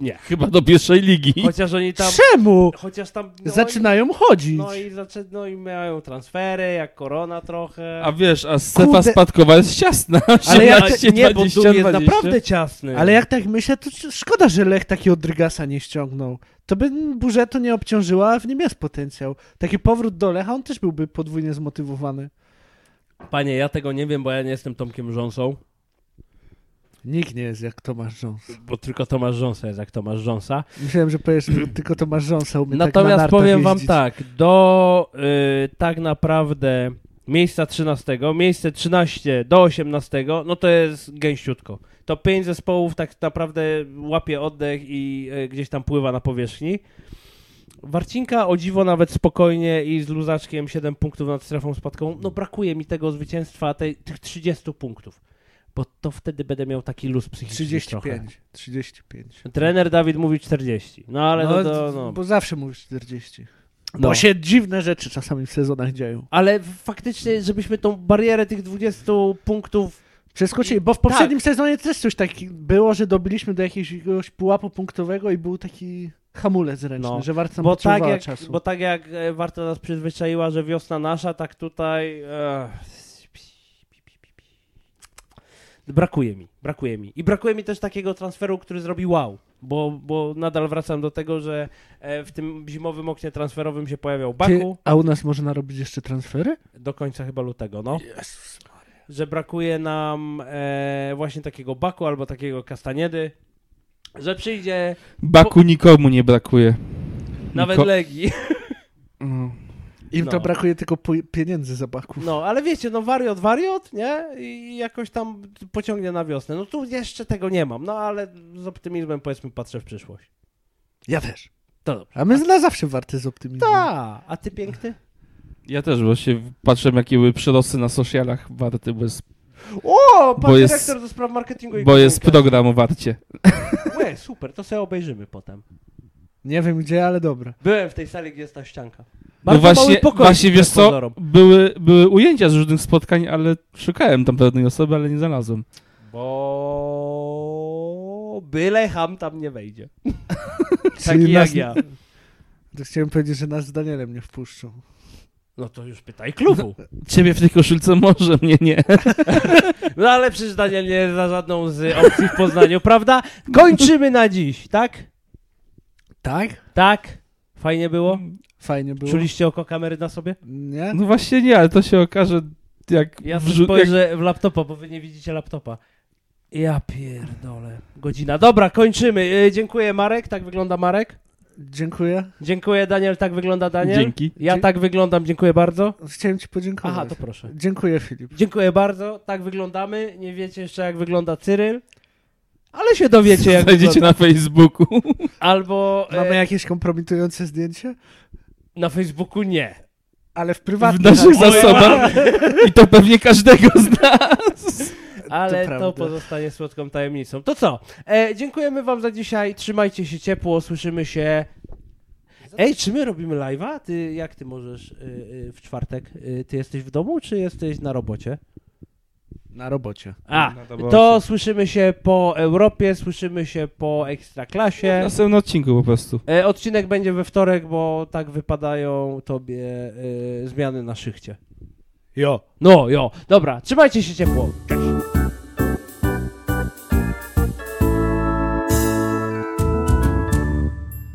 S1: Nie.
S3: Chyba do pierwszej ligi.
S1: Chociaż oni tam...
S2: Czemu?
S1: Chociaż tam... No
S2: Zaczynają chodzić.
S1: I, no, i zaczę, no i mają transfery, jak korona trochę.
S3: A wiesz, a strefa
S2: Kurde.
S3: spadkowa jest ciasna.
S1: ale ja
S3: 18,
S1: nie, bo
S3: 20,
S1: dół jest
S3: 20.
S1: naprawdę ciasny.
S2: Ale jak tak myślę, to sz- szkoda, że Lech takiego drygasa nie ściągnął. To by budżetu nie obciążyła, a w nim jest potencjał. Taki powrót do Lecha, on też byłby podwójnie zmotywowany.
S1: Panie, ja tego nie wiem, bo ja nie jestem Tomkiem Rząsą.
S2: Nikt nie jest jak Tomasz Jones.
S1: Bo tylko Tomasz Rząsa jest jak Tomasz Rząsa.
S2: Myślałem, że powiesz, że tylko Tomasz Jonesa umie tak na
S1: Natomiast
S2: nartach
S1: powiem wam
S2: jeździć.
S1: tak, do y, tak naprawdę miejsca 13, miejsce 13 do 18, no to jest gęściutko. To pięć zespołów tak naprawdę łapie oddech i y, gdzieś tam pływa na powierzchni. Warcinka o dziwo nawet spokojnie i z luzaczkiem 7 punktów nad strefą spadkową. No brakuje mi tego zwycięstwa, tej, tych 30 punktów, bo to wtedy będę miał taki luz psychiczny trochę.
S2: 35. 35.
S1: Trener Dawid mówi 40, no ale no, to, no,
S2: Bo zawsze mówisz 40.
S1: no.
S2: Bo się dziwne rzeczy czasami w sezonach dzieją.
S1: Ale faktycznie, żebyśmy tą barierę tych 20 punktów.
S2: Przeskoczyli,
S1: Tak.
S2: bo w poprzednim sezonie też coś takiego było, że dobiliśmy do jakiegoś pułapu punktowego i był taki hamulec ręczny,
S1: No,
S2: że Warta nam
S1: Bo tak,
S2: potrzebowała
S1: jak,
S2: czasu.
S1: bo tak jak e, Warta nas przyzwyczaiła, że wiosna nasza, tak tutaj. e, Brakuje mi, brakuje mi. I brakuje mi też takiego transferu, który zrobi wow. Bo, bo nadal wracam do tego, że e, w tym zimowym oknie transferowym się pojawiał Baku.
S2: a u nas można robić jeszcze transfery?
S1: do końca chyba lutego, no. Że brakuje nam e, właśnie takiego Baku albo takiego Kastaniedy, że przyjdzie
S3: Baku nikomu nie brakuje.
S1: nawet
S3: Niko-
S1: Legii.
S3: No.
S2: Im
S1: No.
S2: to brakuje tylko pu- pieniędzy za baków.
S1: No, ale wiecie, no wariot, wariot, nie? I jakoś tam pociągnie na wiosnę. No tu jeszcze tego nie mam, no ale z optymizmem powiedzmy patrzę w przyszłość.
S2: Ja też.
S1: To dobrze.
S2: A my na zawsze warte z optymizmem.
S1: Ta, a ty piękny?
S3: Ja też właśnie patrzę, jakie były przyrosty na socialach warty, bo jest,
S1: O, pan
S3: Bo jest-
S1: dyrektor do spraw marketingu i tak.
S3: bo jest
S1: komunikacji.
S3: program No o warcie.
S1: Łe, super, to sobie obejrzymy potem.
S2: Nie wiem gdzie, ale dobra.
S1: Byłem w tej sali, gdzie jest ta ścianka.
S3: No
S1: Bardzo mały
S3: właśnie,
S1: pokój
S3: właśnie wiesz
S1: wbrew
S3: co,
S1: pozorom.
S3: były, były ujęcia z różnych spotkań, ale szukałem tam pewnej osoby, ale nie znalazłem.
S1: Bo byle ham tam nie wejdzie.
S2: Czyli
S1: Taki
S2: nas-
S1: jak ja.
S2: To chciałem powiedzieć, że nas z Danielem nie wpuszczą.
S1: No to już pytaj klubu.
S3: Ciebie w tej koszulce może, mnie nie.
S1: No ale przecież Daniel nie jest za żadną z opcji w Poznaniu, prawda? Kończymy na dziś, tak?
S2: Tak?
S1: Tak? Fajnie było?
S2: Fajnie było.
S1: Czuliście oko kamery na sobie?
S2: Nie?
S3: No właśnie nie, ale to się okaże, jak...
S1: Ja
S3: wrzu-
S1: sobie spojrzę w laptopa, bo wy nie widzicie laptopa. Ja pierdolę. Godzina. Dobra, kończymy. Yy, dziękuję Marek, tak wygląda Marek.
S2: Dziękuję.
S1: Dziękuję Daniel, tak wygląda Daniel.
S3: Dzięki.
S1: Ja tak wyglądam, dziękuję bardzo.
S2: Chciałem ci podziękować.
S1: Aha, to proszę.
S2: Dziękuję Filip.
S1: Dziękuję bardzo. Tak wyglądamy. Nie wiecie jeszcze, jak wygląda Cyryl, ale się dowiecie, jak
S3: Znajdziecie
S1: wygląda.
S3: na Facebooku.
S1: Albo
S2: Mamy
S1: e,
S2: jakieś kompromitujące zdjęcie?
S1: na Facebooku nie.
S2: Ale w
S3: W
S2: prywatnym.
S3: naszych zasobach. I to pewnie każdego z nas.
S1: Ale to,
S2: prawda.
S1: pozostanie słodką tajemnicą. To co? E, dziękujemy wam za dzisiaj. Trzymajcie się ciepło. Słyszymy się. Ej, czy my robimy live'a? Ty, jak ty możesz y, y, w czwartek? Y, ty jesteś w domu, czy jesteś na robocie?
S2: Na robocie.
S1: A,
S3: Na dobocie.
S1: to słyszymy się po Europie, słyszymy się po
S3: W
S2: No,
S1: Ekstraklasie.
S3: następnym odcinku po prostu.
S1: E, Odcinek będzie we wtorek, bo tak wypadają tobie e, zmiany na szychcie.
S2: Jo.
S1: No, jo. Dobra, trzymajcie się ciepło.